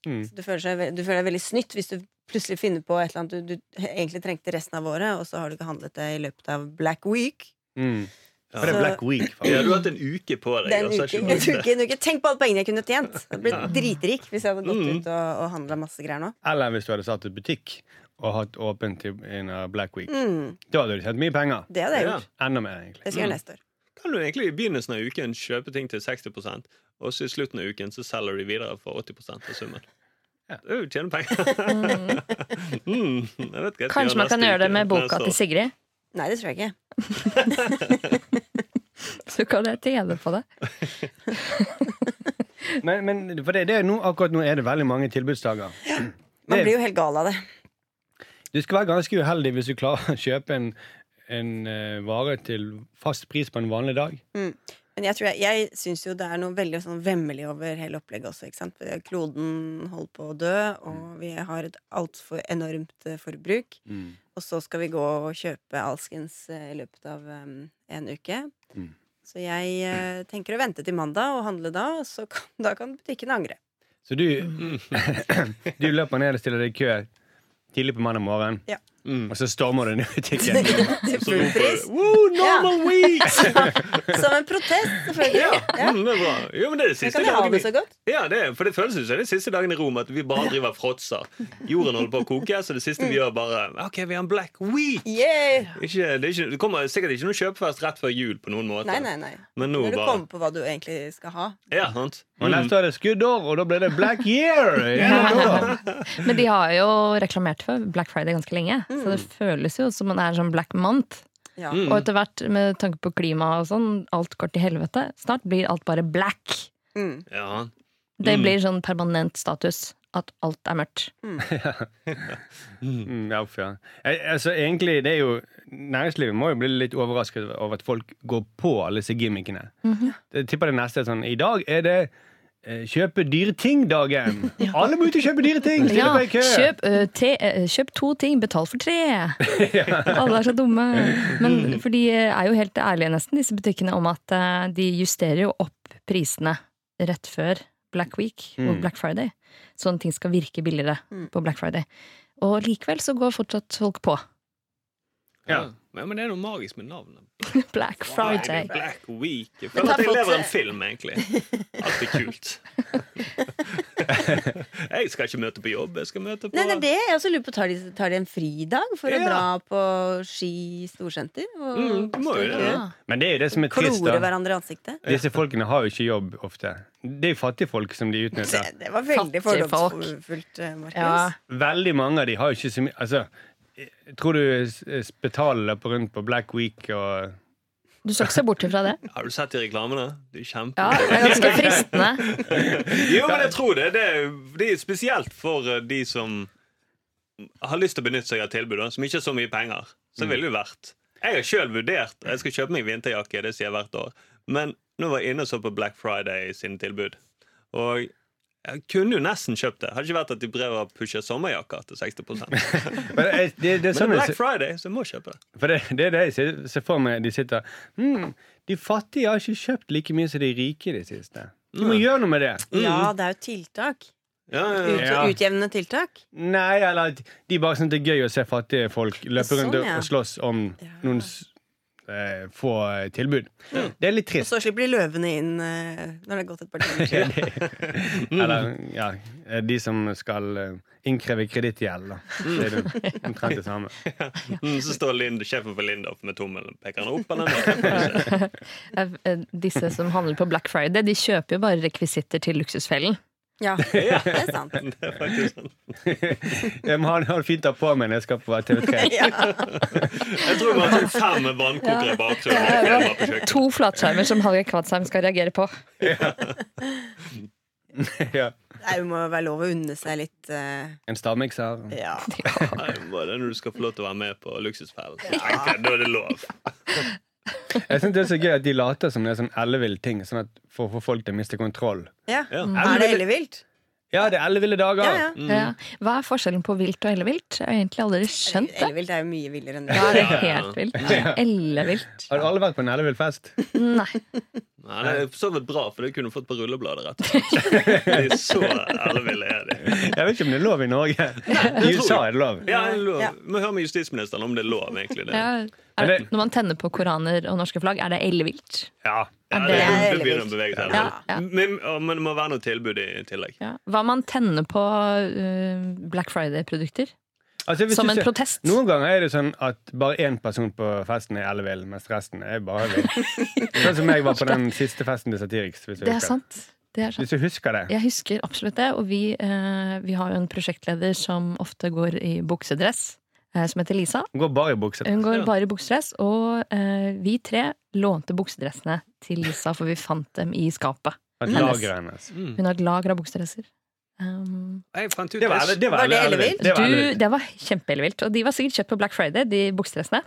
Speaker 2: Mm.
Speaker 5: Så du, føler seg, ve- du føler deg veldig snytt hvis du plutselig finner på et eller annet du, du egentlig trengte resten av året, og så har du ikke handlet det i løpet av Black Week.
Speaker 2: Mm. For det er
Speaker 5: Så-
Speaker 2: Black Week.
Speaker 4: Ja,
Speaker 2: faktisk.
Speaker 4: du har hatt en uke på deg.
Speaker 5: Det er en
Speaker 4: altså,
Speaker 5: uke,
Speaker 4: ikke
Speaker 5: en
Speaker 4: brukt det.
Speaker 5: uke, en uke. Tenk på alle pengene jeg kunne tjent! Jeg hadde blitt dritrik hvis jeg hadde gått
Speaker 4: Mm.
Speaker 5: ut og, og handla masse greier nå.
Speaker 2: Eller hvis du hadde satt et butikk og hatt åpent til en av Black Week.
Speaker 5: Mm,
Speaker 2: Da hadde du tjent mye penger.
Speaker 5: det hadde jeg
Speaker 4: Ja.
Speaker 5: gjort.
Speaker 2: Enda mer, egentlig.
Speaker 5: Det skal jeg
Speaker 4: Mm.
Speaker 5: gjøre neste år.
Speaker 4: Kan du egentlig i begynnelsen av uken kjøpe ting til 60 og så i slutten av uken så selger du de videre for 80 av summen?
Speaker 2: Ja.
Speaker 4: Du tjener penger. mm, jeg vet ikke,
Speaker 3: Kanskje man kan gjøre det med boka til Sigrid?
Speaker 5: Nei, det tror jeg ikke.
Speaker 3: Så kan jeg tjene på det.
Speaker 2: Men, men for det, det er nå, akkurat nå er det veldig mange tilbudsdager.
Speaker 5: Man
Speaker 2: Det-
Speaker 5: blir jo helt gal av det.
Speaker 2: Du skal være ganske uheldig hvis du klarer å kjøpe en, en eh, vare til fast pris på en vanlig dag.
Speaker 5: Men jeg, tror jeg, jeg syns jo det er noe veldig sånn vemmelig over hele opplegget også. ikke sant? For Kloden holder på å dø,
Speaker 4: Mm.
Speaker 5: og vi har et altfor enormt eh, forbruk.
Speaker 4: Mm.
Speaker 5: Og så skal vi gå og kjøpe alskens eh, i løpet av eh, en uke.
Speaker 2: Mm.
Speaker 5: Så jeg eh, tenker å vente til mandag og handle da, og så kan, [laughs] da kan butikken
Speaker 4: [laughs]
Speaker 5: angre.
Speaker 2: Så du, [laughs] du løper ned og stiller deg i kø tidlig på mandag morgen,
Speaker 5: Ja.
Speaker 2: og så stormer du ned i butikken.
Speaker 5: [laughs] til full pris.
Speaker 4: Woo, normal weeks!
Speaker 5: Som en protest, selvfølgelig.
Speaker 4: [laughs] ja. Mm, det er bra. Jo, men det er de
Speaker 5: Men
Speaker 4: siste
Speaker 5: kan de ha
Speaker 4: dagene.
Speaker 5: det så godt?
Speaker 4: Ja, det, er- for det føles jo som de siste dagene i Rom at vi bare driver og fråtser. Jorden holder på å koke, så det siste vi gjør, bare OK, vi har en black week!
Speaker 5: Yeah!
Speaker 4: Ikke, det, er ikke, det kommer sikkert ikke noe kjøpefest rett før jul på noen måte.
Speaker 5: Nei, nei, nei.
Speaker 4: Men nå
Speaker 5: Når du
Speaker 4: bare
Speaker 5: kommer på hva du egentlig skal ha.
Speaker 4: Ja, sant? Mm.
Speaker 2: Og neste år er det skuddår, og da blir det black year! Ja,
Speaker 3: [laughs] Men de har jo reklamert for Black Friday ganske lenge, så det føles jo som om det er en sånn black month.
Speaker 5: Ja.
Speaker 4: Mm.
Speaker 3: Og etter hvert, med tanke på klima og sånn, alt går til helvete. Snart blir alt bare black.
Speaker 5: Mm.
Speaker 4: Ja.
Speaker 3: Det
Speaker 4: Mm.
Speaker 3: blir sånn permanent status at alt er mørkt.
Speaker 2: Mm, ja, uff, ja. Eh, Altså, egentlig, det er jo Næringslivet må jo bli litt overrasket over at folk går på alle disse gimmickene. Jeg tipper det neste er sånn I dag er det eh, Kjøpe dyre ting-dagen! Alle må ut og kjøpe dyre ting! Stille
Speaker 3: Ja,
Speaker 2: på i kø!
Speaker 3: kjøp, ø, te, ø, kjøp to ting, betal for tre!
Speaker 2: [laughs]
Speaker 3: Alle er så dumme. Men for de eh, er jo helt ærlige, nesten, disse butikkene, om at ø, de justerer jo opp prisene rett før Black Week og
Speaker 2: Mm.
Speaker 3: Black Friday. Sånn ting skal virke billigere
Speaker 5: Mm.
Speaker 3: på Black Friday. Og likevel så går fortsatt folk på. [laughs]
Speaker 2: Ja.
Speaker 4: Men, men det er noe magisk med navnet.
Speaker 3: Black
Speaker 4: Nei,
Speaker 3: Friday.
Speaker 4: Black Week. Jeg
Speaker 5: Men
Speaker 4: føler at
Speaker 5: ta
Speaker 4: jeg
Speaker 5: fått-
Speaker 4: lever en film, egentlig. Alt er
Speaker 5: [laughs]
Speaker 4: kult. jeg skal ikke møte på jobb, jeg skal møte på
Speaker 5: Nei, det er det. Jeg også lurer på, tar de, tar de en fridag for
Speaker 4: Ja.
Speaker 5: å dra på ski storsenter? Og
Speaker 4: Mm, du må jo det.
Speaker 5: Ja.
Speaker 3: Ja.
Speaker 2: Men det er jo det som er trist,
Speaker 5: Klore
Speaker 2: da.
Speaker 5: hverandre i ansiktet?
Speaker 2: Disse folkene har jo ikke jobb ofte. Det er jo fattige folk som de
Speaker 5: Det,
Speaker 2: utnytter.
Speaker 5: det var veldig
Speaker 3: Fattige folk.
Speaker 5: fordomsfullt, eh, Markus.
Speaker 3: Ja.
Speaker 2: Veldig mange av de har jo ikke så mye Altså, eh, tror du s- eh, Spetalen løper rundt på Black Week og
Speaker 3: Du skal ikke se bort ifra det.
Speaker 4: Har du sett de reklamene? De er kjempe...
Speaker 3: Ja, det er ganske fristende. [laughs]
Speaker 4: Jo, men jeg tror det. Det er, det er spesielt for eh, de som har lyst til å benytte seg av tilbudet, som ikke har så mye penger.
Speaker 2: Mm.
Speaker 4: Så ville det jo vært. Jeg har sjøl vurdert Jeg skal kjøpe meg vinterjakke, det sier jeg hvert år. Men nå var jeg inne og så på Black Friday sine tilbud. Og jeg kunne jo nesten kjøpt det. Hadde ikke vært at de brev og pusher sommerjakker
Speaker 2: [laughs]
Speaker 4: til 60 Men det
Speaker 2: Men eh, det, det er
Speaker 4: er
Speaker 2: sånn jeg
Speaker 4: Black
Speaker 2: ser-
Speaker 4: Friday, så jeg må kjøpe det.
Speaker 2: For det, det er det jeg ser- ser for meg. De sitter mm, De fattige har ikke kjøpt like mye som de rike i det siste. Du må gjøre noe med det.
Speaker 5: Mm. ja, det er jo tiltak.
Speaker 4: Ja, ja,
Speaker 5: Ut,
Speaker 2: Mm.
Speaker 4: ja.
Speaker 2: Ja.
Speaker 5: Utjevnende tiltak.
Speaker 2: Nei, eller at de bare syns det er gøy å se fattige folk løpe
Speaker 5: Sånn,
Speaker 2: rundt og-
Speaker 5: ja.
Speaker 2: og slåss om
Speaker 5: Ja. Mm.
Speaker 2: noen s- eh, få eh, tilbud. Det er litt
Speaker 5: Og
Speaker 2: trist.
Speaker 5: så slipper de løvene inn eh, når det har gått et par timer.
Speaker 2: [laughs] Ja, det- Eller ja, eh, de som skal eh, innkreve kredittgjeld, da. Det er det omtrent det samme. [laughs]
Speaker 4: Mm, så står Lind, sjefen for Lindorf med tommelen. Peker han opp
Speaker 2: [laughs]
Speaker 4: eller ned?
Speaker 3: Eh, eh, Disse som handler på Black Friday, de kjøper jo bare rekvisitter til Luksusfellen.
Speaker 5: Ja, det er
Speaker 4: [laughs]
Speaker 5: sant.
Speaker 4: Det er faktisk sånn.
Speaker 2: Jeg må ha ha det fint å ha på meg når jeg skal på TV3.
Speaker 5: [laughs] Ja.
Speaker 4: Jeg tror vi har sånn fem vannkokere i bakgrunnen. og filmer på kjøkkenet.
Speaker 3: To flatskjermer som Hallgeir Kvadsheim skal reagere på.
Speaker 2: Ja.
Speaker 5: Nei, det må jo være lov å unne seg litt eh,
Speaker 2: En stavmikser.
Speaker 5: Ja.
Speaker 4: Nei, bare når du skal få lov til å være med på Luksusfellen. Ja. Da er det lov.
Speaker 2: Jeg synes det er så gøy at de later som det er sånn ellevill ting, sånn at for å få folk til å miste kontroll.
Speaker 5: Ja.
Speaker 4: Ja.
Speaker 5: Er det ellevilt?
Speaker 2: Ja, det er elleville dager!
Speaker 5: Ja, ja.
Speaker 3: Ja. Hva er forskjellen på vilt og ellevilt? Jeg har egentlig aldri skjønt det.
Speaker 5: Ellevilt er jo mye villere enn det.
Speaker 3: Da er det
Speaker 4: Ja, ja, ja.
Speaker 3: helt vilt. Ellevilt.
Speaker 2: Har du alle vært på en ellevill fest?
Speaker 3: Nei.
Speaker 4: Nei, det er for så vidt bra, for det kunne du fått på rullebladet. rett og slett. De er så elleville er de.
Speaker 2: Jeg vet ikke om det er lov i Norge. I USA er det lov.
Speaker 4: Ja, det er lov.
Speaker 5: Ja.
Speaker 4: Må høre med justisministeren om det er lov, egentlig. Det.
Speaker 3: Ja.
Speaker 2: Men
Speaker 3: Er det,
Speaker 2: det-
Speaker 3: når man tenner på koraner og norske flagg, er det ellevilt?
Speaker 2: Ja.
Speaker 4: Ja,
Speaker 3: Er
Speaker 4: det,
Speaker 5: det-
Speaker 4: det begynner å bevege seg.
Speaker 3: Ja, ja.
Speaker 4: altså. Men, ja, men det må være noe tilbud i tillegg.
Speaker 3: Ja. Hva man tenner på eh, Black Friday-produkter?
Speaker 2: Altså, hvis
Speaker 3: Som
Speaker 2: du
Speaker 3: en
Speaker 2: ser-
Speaker 3: protest?
Speaker 2: Noen ganger er det sånn at bare én person på festen er ellevill, mens resten er bare
Speaker 3: [laughs]
Speaker 2: vill. Sånn som jeg var på den siste festen til Satiriks. Hvis du,
Speaker 3: Det er
Speaker 2: husker.
Speaker 3: sant. Det er sant.
Speaker 2: Hvis du husker det.
Speaker 3: Jeg husker absolutt det, og vi, eh, vi har jo en prosjektleder som ofte går i buksedress, eh, som heter Lisa.
Speaker 2: Hun går bare i bukse.
Speaker 3: Hun går
Speaker 4: Ja.
Speaker 3: bare i buksedress, og eh, vi tre lånte buksedressene til Lisa, for vi fant dem i skapet.
Speaker 2: At
Speaker 3: Hennes.
Speaker 2: lageret hennes.
Speaker 4: Mm.
Speaker 3: Hun har et lager av buksedresser. Um,
Speaker 4: Jeg fant ut
Speaker 2: Det var, elle- det
Speaker 5: Var det
Speaker 2: elle-
Speaker 5: ellevilt?
Speaker 2: Det var
Speaker 3: du,
Speaker 2: ellevilt.
Speaker 3: det var kjempeellevilt, og de var sikkert kjøpt på Black Friday, de buksedressene.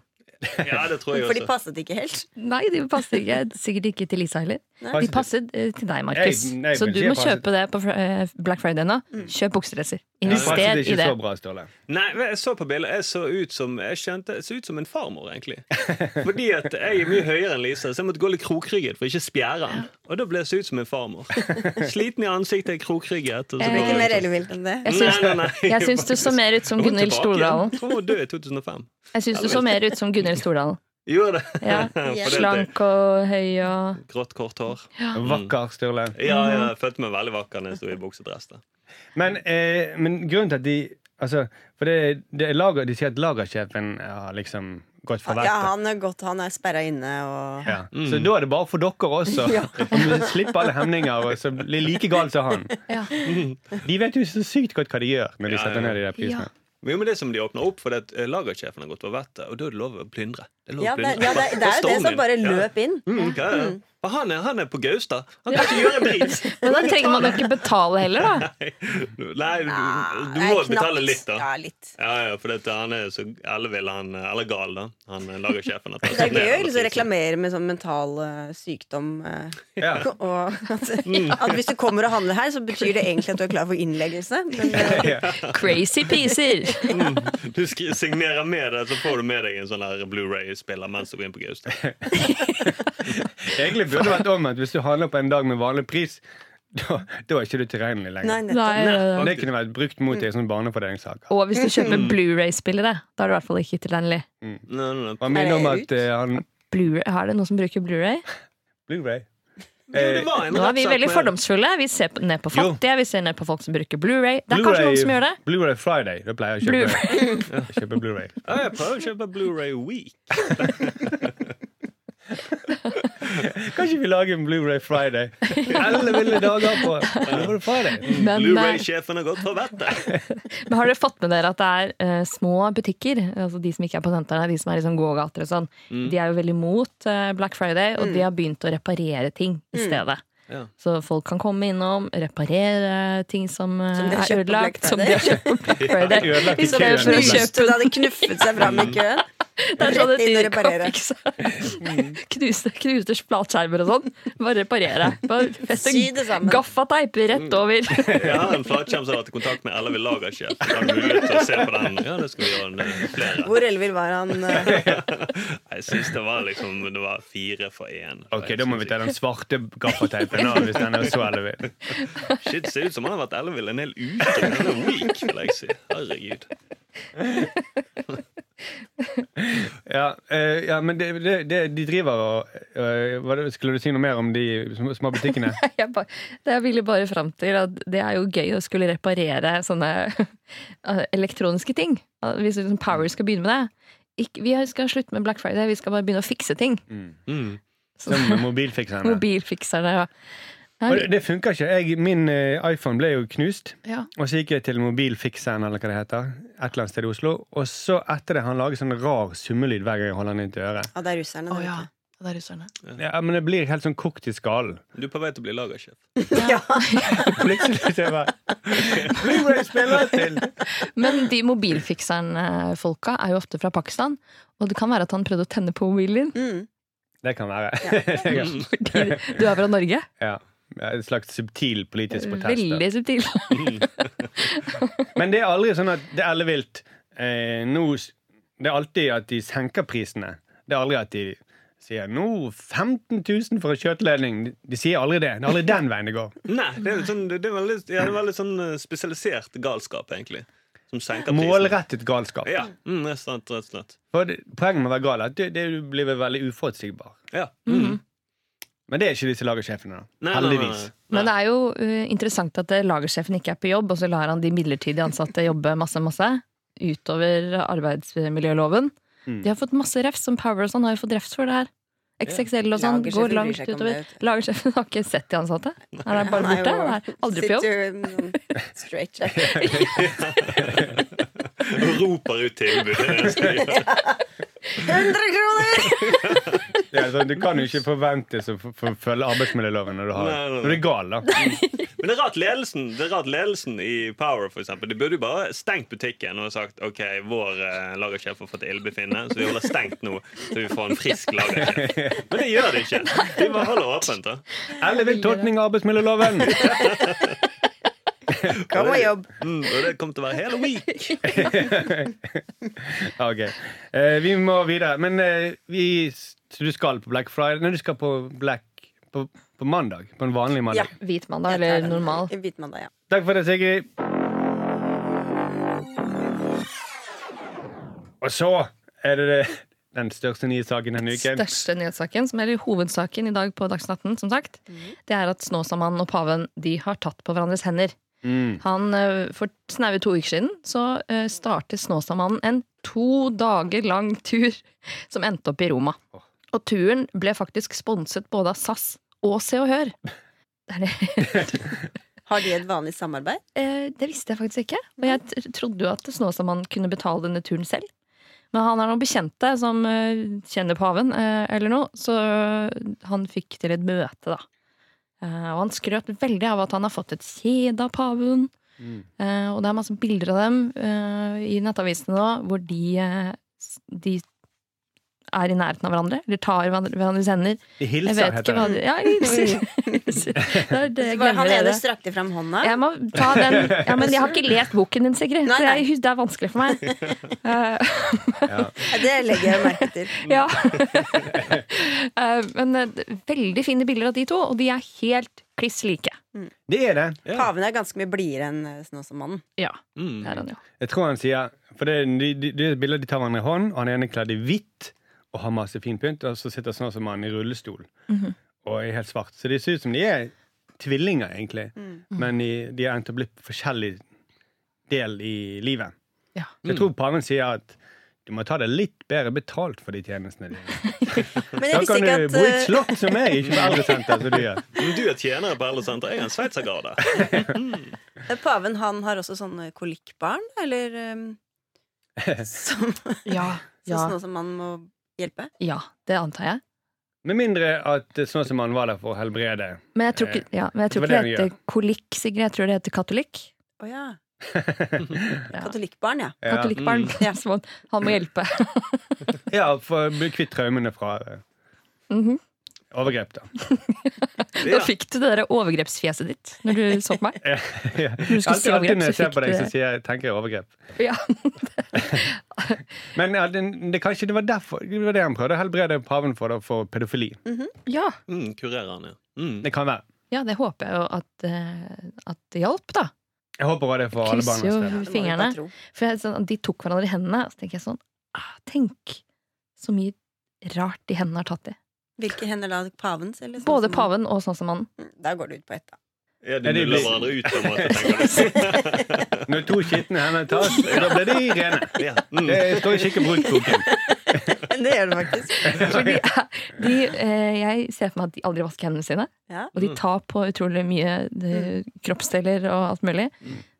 Speaker 4: Ja, det tror jeg
Speaker 5: For de
Speaker 4: også.
Speaker 5: passet ikke helt.
Speaker 3: Nei, de passet ikke, [laughs] sikkert ikke til Lisa heller.
Speaker 5: Nei.
Speaker 3: De passet eh, til deg, Markus.
Speaker 2: Jeg- nei,
Speaker 3: Så
Speaker 2: men
Speaker 3: du
Speaker 2: jeg
Speaker 3: må
Speaker 2: passet-
Speaker 3: kjøpe det på fr- eh, Black Friday nå. Kjøp buksedresser.
Speaker 2: Du passet
Speaker 3: Invester i
Speaker 2: ikke
Speaker 3: det.
Speaker 2: så bra, Ståle.
Speaker 4: Nei, men jeg så på bildet. Jeg så ut som jeg kjente, jeg så ut som en farmor, egentlig. Fordi at jeg er mye høyere enn Lisa, så jeg måtte gå litt krokrygget for ikke å spjære den. Og da ble jeg så ut som en farmor. Sliten i ansiktet, krokrygget. Og så
Speaker 3: Jeg
Speaker 5: Det
Speaker 4: bare-
Speaker 5: blir ikke mer ellevilt enn det.
Speaker 3: Jeg syns,
Speaker 4: Nei, nei,
Speaker 5: [laughs]
Speaker 4: nei.
Speaker 3: [laughs] jeg syns du så mer ut som
Speaker 4: Hun
Speaker 3: Gunhild
Speaker 4: tilbake
Speaker 3: Stordalen.
Speaker 4: igjen. Jeg tror hun var død i 2005.
Speaker 3: Jeg syns du så mer ut som Gunhild Stordalen.
Speaker 4: Gjorde det.
Speaker 3: Ja.
Speaker 4: For det er
Speaker 3: Slank og høy og
Speaker 4: [laughs] Grått, kort hår.
Speaker 2: Vakker, Sturle.
Speaker 3: Mm.
Speaker 4: Ja,
Speaker 5: Mhm.
Speaker 4: jeg følte meg veldig vakker når jeg sto i buksedress. da.
Speaker 2: Men, eh, men grunnen til at de altså, For det, det er lager, de sier at lagersjefen har liksom gått fra
Speaker 5: Ja,
Speaker 2: vettet.
Speaker 5: han er godt, han er sperra inne og
Speaker 2: Ja. Så da er det bare for dere også. Om du slipper alle hemninger og så blir like gal som han. Mm.
Speaker 3: Ja.
Speaker 2: De vet jo så sykt godt hva de gjør når de
Speaker 4: Ja,
Speaker 2: setter
Speaker 4: ja,
Speaker 2: ned
Speaker 4: ja.
Speaker 2: de der prisene.
Speaker 3: Ja.
Speaker 4: Men jo, men det er som de åpner opp, for det at eh, lagersjefen har gått over vettet, og da er det lov å plyndre. Det er lov å
Speaker 5: Ja, det,
Speaker 4: plyndre.
Speaker 5: ja, det, det er jo det
Speaker 4: Storm
Speaker 5: som
Speaker 4: inn.
Speaker 5: bare
Speaker 4: Ja.
Speaker 5: løp inn.
Speaker 4: Mm, ja, ja. Og han er, han er på Gaustad. Han kan ikke gjøre en drit.
Speaker 5: [laughs]
Speaker 3: Men da trenger man jo ikke betale heller, da.
Speaker 4: Nei, Nei, du, du
Speaker 5: Nei,
Speaker 4: må
Speaker 5: knapt.
Speaker 4: betale litt, da.
Speaker 5: Ja, litt.
Speaker 4: Ja, ja, for dette, han er så ellevill, han Eller gal, da. Han eh, lagersjefen. at han [laughs]
Speaker 5: [laughs] Det er
Speaker 4: setter ned
Speaker 5: gøy å
Speaker 4: alle
Speaker 5: liksom
Speaker 4: prisene.
Speaker 5: reklamere med sånn mental eh, sykdom. eh,
Speaker 2: Ja.
Speaker 5: [laughs] Og at,
Speaker 4: Mm.
Speaker 5: [laughs] at hvis du kommer og handler her, så betyr det egentlig at du er klar for innleggelse. Men
Speaker 4: [laughs]
Speaker 5: eh,
Speaker 3: Crazy piser!
Speaker 4: Du skri- signerer med det, så får du med deg en sånn der Blu-ray-spiller mens du går inn på
Speaker 3: [laughs]
Speaker 4: Gaustad.
Speaker 2: Egentlig burde det vært om at hvis du handler på en dag med vanlig pris, da, da er ikke du tilregnelig
Speaker 5: nei,
Speaker 2: lenger.
Speaker 5: nettopp.
Speaker 3: Nei, ja, ja.
Speaker 2: Det kunne vært brukt mot deg i sånn barnefordelingssaker.
Speaker 3: Og hvis du kjøper Blu-ray-spillere, da er det i hvert fall ikke tilregnelig.
Speaker 4: Nei, nei, nei.
Speaker 2: Han minner om
Speaker 5: Er det
Speaker 2: at eh, han
Speaker 3: Blu-ray- Er det noen som bruker Blu-ray?
Speaker 2: Blu-ray. Eh,
Speaker 4: Jo, det var en
Speaker 3: Nå er vi
Speaker 4: rettssak
Speaker 3: veldig
Speaker 4: med-
Speaker 3: fordomsfulle. Vi ser på- ned på
Speaker 2: Jo.
Speaker 3: fattige, vi ser ned på folk som bruker Blu-ray. Det er kanskje noen som gjør det.
Speaker 2: Blu-ray Friday. Da pleier jeg å kjøpe, [laughs] kjøpe Blu-ray.
Speaker 4: Ja, jeg prøver å kjøpe Blu-ray Week.
Speaker 2: Kan ikke vi lage en Blu-ray Friday? Alle ville dager på Blu-ray Friday.
Speaker 3: Men, eh,
Speaker 4: Blu-ray-sjefen har gått fra vettet.
Speaker 3: Men Har dere fått med dere at det er eh, små butikker, altså de som ikke er på sentrene, de som er i sånn gågater og sånn, de er jo veldig mot eh, Black Friday, og de har begynt å reparere ting i stedet.
Speaker 4: Ja.
Speaker 3: Så folk kan komme innom, reparere ting som, eh,
Speaker 5: Som de har
Speaker 3: er
Speaker 5: kjøpt på Black
Speaker 3: ødelagt, som de har kjøpt på Black Friday.
Speaker 2: Ødelagt i
Speaker 3: I stedet for å
Speaker 2: køen.
Speaker 3: kjøpe
Speaker 5: Knuste, det hadde knuffet seg fram
Speaker 4: Mm.
Speaker 5: i køen.
Speaker 3: Det er sånn
Speaker 5: Rett
Speaker 3: et
Speaker 5: inn og
Speaker 3: edderkopp,
Speaker 5: reparere.
Speaker 3: ikke sant? [laughs] Knuste, knuste platskjermer og sånn. Bare reparere. Bare feste
Speaker 5: Sy det sammen.
Speaker 3: gaffateip rett over.
Speaker 4: Jeg har en flatskjerm som har vært i kontakt med Ella vil lagersjef. Da har du mulighet til å se på den. Ja, det skal vi gjøre en- eh, flere.
Speaker 5: Hvor ellevill var han?
Speaker 4: [laughs]
Speaker 5: eh?
Speaker 4: Jeg syns det var liksom Det var fire for én.
Speaker 2: Ok, da må vi ta den svarte gaffateipen nå, hvis den er så ellevill.
Speaker 4: Shit, det ser ut som han har vært ellevill en hel uke. En hel week, vil jeg si. Herregud.
Speaker 2: Ja, eh, ja, men det, det, det, de driver og eh, hva det- Skulle du si noe mer om de sm- små
Speaker 3: [laughs]
Speaker 2: butikkene?
Speaker 3: jeg, bare, det jeg ville bare fram til at det er jo gøy å skulle reparere sånne [laughs] eh, elektroniske ting. At Hvis liksom Power skal begynne med det. Ikke, vi skal slutte med Black Friday, vi skal bare begynne å fikse ting.
Speaker 4: Mm.
Speaker 2: Som mobilfikserne?
Speaker 3: Mobilfikserne og
Speaker 2: Og det, det funker ikke. Jeg, min eh, iPhone ble jo knust.
Speaker 3: ja.
Speaker 2: Og så gikk jeg til mobilfikseren, eller hva det heter. Et eller annet sted i Oslo. Og så etter det, han lager sånn rar summelyd hver gang jeg holder han inn til øret.
Speaker 5: Ja, det er russerne.
Speaker 3: Å
Speaker 5: det,
Speaker 3: ja.
Speaker 5: vet
Speaker 3: Det er russerne.
Speaker 2: Ja, men det blir helt sånn kokt i skallen. [laughs]
Speaker 4: Du er på vei til å bli lagersjef.
Speaker 5: [laughs] Ja.
Speaker 2: Plutselig så er jeg bare [laughs] Blu-ray spiller til!
Speaker 3: Men de eh, mobilfikseren-folka er jo ofte fra Pakistan. Og det kan være at han prøvde å tenne på mobilen din.
Speaker 5: du. Mm.
Speaker 2: Det kan være. Ja.
Speaker 3: Du er fra Norge?
Speaker 2: ja. En slags subtil politisk protest. da.
Speaker 3: Veldig subtil.
Speaker 4: Mm.
Speaker 2: Men det er aldri sånn at det er ellevilt. Eh, nå s- det er alltid at de senker prisene. Det er aldri at de sier nå 15 000 for en kjøttledning. De sier aldri det. Det er aldri den veien det går.
Speaker 4: Nei, det er, jo sånn, det er veldig, ja, det er veldig sånn eh, spesialisert galskap, egentlig. Som senker prisen.
Speaker 2: Målrettet galskap.
Speaker 4: Ja, mm, rett og slett. Rett og slett.
Speaker 2: For det- poenget med å være gal er at du, det, du blir vel veldig uforutsigbar.
Speaker 4: Ja. Mm.
Speaker 2: Men det er ikke disse lagersjefene. da.
Speaker 4: Nei, nei, nei,
Speaker 2: Heldigvis.
Speaker 4: nei.
Speaker 3: Men det er jo eh, interessant at eh, lagersjefen ikke er på jobb, og så lar han de midlertidig ansatte jobbe masse, masse utover arbeidsmiljøloven.
Speaker 2: Mm.
Speaker 3: De har fått masse refs, som Power og sånn har jo fått refs for det her. XXL og sånn
Speaker 5: Lagersjefen
Speaker 3: går
Speaker 5: bryr
Speaker 3: langt
Speaker 5: seg ikke om
Speaker 3: utover.
Speaker 5: det, vet
Speaker 3: Lagersjefen har ikke sett de ansatte. Han er bare
Speaker 5: Han er
Speaker 3: borte.
Speaker 5: jo-
Speaker 3: Han er aldri på jobb.
Speaker 5: Sitter med noen straight jack.
Speaker 4: [laughs]
Speaker 5: [laughs]
Speaker 4: Og roper ut tilbud. Det er det [laughs] eneste de gjør.
Speaker 5: 100 kroner!
Speaker 2: Det er sånn, du kan jo ikke forventes å f- f- følge arbeidsmiljøloven når du, har,
Speaker 4: Nei, nei, nei.
Speaker 2: når du er gal. da
Speaker 4: Men det er rart ledelsen Det er rart ledelsen i Power, for eksempel. De burde jo bare stengt butikken og sagt OK, vår eh, lagersjef har fått ildbefinnende, så vi holder stengt nå, så vi får en frisk lagersjef. Men det gjør de ikke. De bare holder åpent. da
Speaker 2: Ellevill tolkning av arbeidsmiljøloven!
Speaker 5: Kom og jobb.
Speaker 4: mm, Og det kommer til å være hele week.
Speaker 2: Ok, eh, Vi må videre. Men eh, vi, så du skal på Black Friday Nei, du skal på Black på, på mandag. På en vanlig mandag.
Speaker 3: Hvitmandag eller normal.
Speaker 5: Hvitmandag, ja.
Speaker 2: Takk for det, Sigrid. Og så er det det- den største nye saken denne uken.
Speaker 3: Største nyhetssaken, som er i hovedsaken i dag på Dagsnytt 18, som sagt, det er at Snåsamannen og paven de har tatt på hverandres hender.
Speaker 2: Mm.
Speaker 3: Han, eh, for snaue to uker siden så eh, startet Snåsamannen en to dager lang tur som endte opp i Roma.
Speaker 2: Åh.
Speaker 3: Og turen ble faktisk sponset både av SAS og Se og Hør. Det, er det.
Speaker 5: Har de et vanlig samarbeid?
Speaker 3: Eh, det visste jeg faktisk ikke. Og jeg tr- trodde jo at Snåsamannen kunne betale denne turen selv. Men han har noen bekjente som eh, kjenner paven, eh, eller noe, så eh, han fikk til et møte, da. Eh, og han skrøt veldig av at han har fått et kjede av paven.
Speaker 2: Mm.
Speaker 3: Eh, og det er masse bilder av dem eh, i nettavisene nå, hvor de, eh, s- de er i nærheten av hverandre. Eller tar hverandre- hverandres hender.
Speaker 2: De
Speaker 3: Jeg
Speaker 2: hilser,
Speaker 3: vet ikke
Speaker 2: heter
Speaker 3: hva
Speaker 2: det.
Speaker 3: de Ja, hilser. [laughs] det er det jeg
Speaker 5: Så bare han
Speaker 3: glemmer.
Speaker 5: ene
Speaker 3: det.
Speaker 5: strakte fram hånda.
Speaker 3: Jeg må ta den. Ja, men jeg har ikke lest boken din, Sigrid,
Speaker 5: Nei,
Speaker 3: så
Speaker 5: nei.
Speaker 3: jeg, hus- det er vanskelig for meg. Eh,
Speaker 2: Ja.
Speaker 5: Ja, Det legger jeg merke til.
Speaker 3: ja. [laughs] Eh, men eh, veldig fine bilder av de to, og de er helt kliss like.
Speaker 2: Det er det.
Speaker 5: Paven er ganske mye blidere enn eh, Snåsamannen.
Speaker 3: Ja, det er
Speaker 4: Mm.
Speaker 3: han jo.
Speaker 2: Jeg tror han sier For det er de, de, de bilder de tar hverandre i hånd, og han ene er kledd i hvitt og har masse fin pynt, og så sitter sånn som han i rullestol og er helt svart. Så de ser ut som de er tvillinger, egentlig, men de, de har endt opp litt på forskjellig del i livet.
Speaker 3: Ja.
Speaker 2: Så jeg tror paven sier at du må ta det litt bedre betalt for de tjenestene dine.
Speaker 5: Men
Speaker 2: Da
Speaker 5: jeg visste
Speaker 2: kan
Speaker 5: ikke
Speaker 2: du
Speaker 5: at
Speaker 2: bo i et
Speaker 5: eh,
Speaker 2: slott som meg, ikke på eldresenter som du gjør.
Speaker 4: Men Du er tjener på eldresenter. Jeg er en sveitsergarde.
Speaker 5: eh, paven han har også sånne kolikkbarn, eller eh, som, sånn
Speaker 3: Ja, ja,
Speaker 5: som Snåsamannen må hjelpe.
Speaker 3: ja, det antar jeg.
Speaker 2: Med mindre at eh, sånn som han var der for å helbrede
Speaker 3: Men jeg tror ikke, ja, men jeg tror
Speaker 2: Det var
Speaker 3: ikke
Speaker 2: det
Speaker 3: det
Speaker 2: han
Speaker 3: heter kolikk, Sigrid. Jeg tror det heter katolikk.
Speaker 5: Å ja.
Speaker 3: Ja.
Speaker 5: Katolikkbarn, ja.
Speaker 2: Ja.
Speaker 3: Katolikkbarn.
Speaker 5: Mm. Ja.
Speaker 3: [laughs] Så han- Han må hjelpe.
Speaker 2: Ja, for å bli kvitt traumene fra eh,
Speaker 3: Mhm.
Speaker 2: overgrep, da.
Speaker 3: Da
Speaker 4: Ja.
Speaker 3: fikk du det der overgrepsfjeset ditt når du så på meg.
Speaker 2: Ja.
Speaker 3: du skal si
Speaker 2: Alltid, alltid
Speaker 3: overgrep,
Speaker 2: når jeg
Speaker 3: så
Speaker 2: ser
Speaker 3: fikk
Speaker 2: på deg,
Speaker 3: du
Speaker 2: så
Speaker 3: det.
Speaker 2: sier jeg, tenker jeg overgrep.
Speaker 3: Ja.
Speaker 2: Men ja, det, det, kanskje det var derfor det var det han prøvde å helbrede paven for, da, for pedofili.
Speaker 3: Ja.
Speaker 4: Mm, kurerer han, ja. Mm.
Speaker 2: Det kan være.
Speaker 3: ja, det håper jeg jo at, eh, at det hjalp, da.
Speaker 2: Jeg håper også det for alle
Speaker 3: Krysser
Speaker 2: barnas
Speaker 3: jo
Speaker 2: del.
Speaker 5: Det må vi
Speaker 3: fingrene.
Speaker 5: bare tro.
Speaker 3: For jeg, sånn, De tok hverandre i hendene, og så tenker jeg sånn ah, Tenk så mye rart de hendene har tatt i.
Speaker 5: Sånn Hvilke hender da? Pavens? Eller
Speaker 3: Både
Speaker 5: Snåsamannen?
Speaker 3: paven og sånn
Speaker 5: [laughs]
Speaker 3: Snåsamannen.
Speaker 5: Mm, Da går det ut på ett, da. [laughs]
Speaker 4: Ja,
Speaker 2: Ja,
Speaker 4: de
Speaker 2: det
Speaker 4: nuller
Speaker 2: blir-
Speaker 4: hverandre ut på en måte, tenker du.
Speaker 2: Når to skitne hender
Speaker 3: [laughs]
Speaker 2: tas, da blir de rene.
Speaker 4: Ja. Mm.
Speaker 2: Det står ikke i bruktboken.
Speaker 5: Det gjør det
Speaker 3: [laughs]
Speaker 5: faktisk.
Speaker 3: For de, er- de, eh, jeg ser for meg at de aldri vasker hendene sine.
Speaker 5: Ja. Mm.
Speaker 3: Og de tar på utrolig mye eh, kroppsdeler og alt mulig.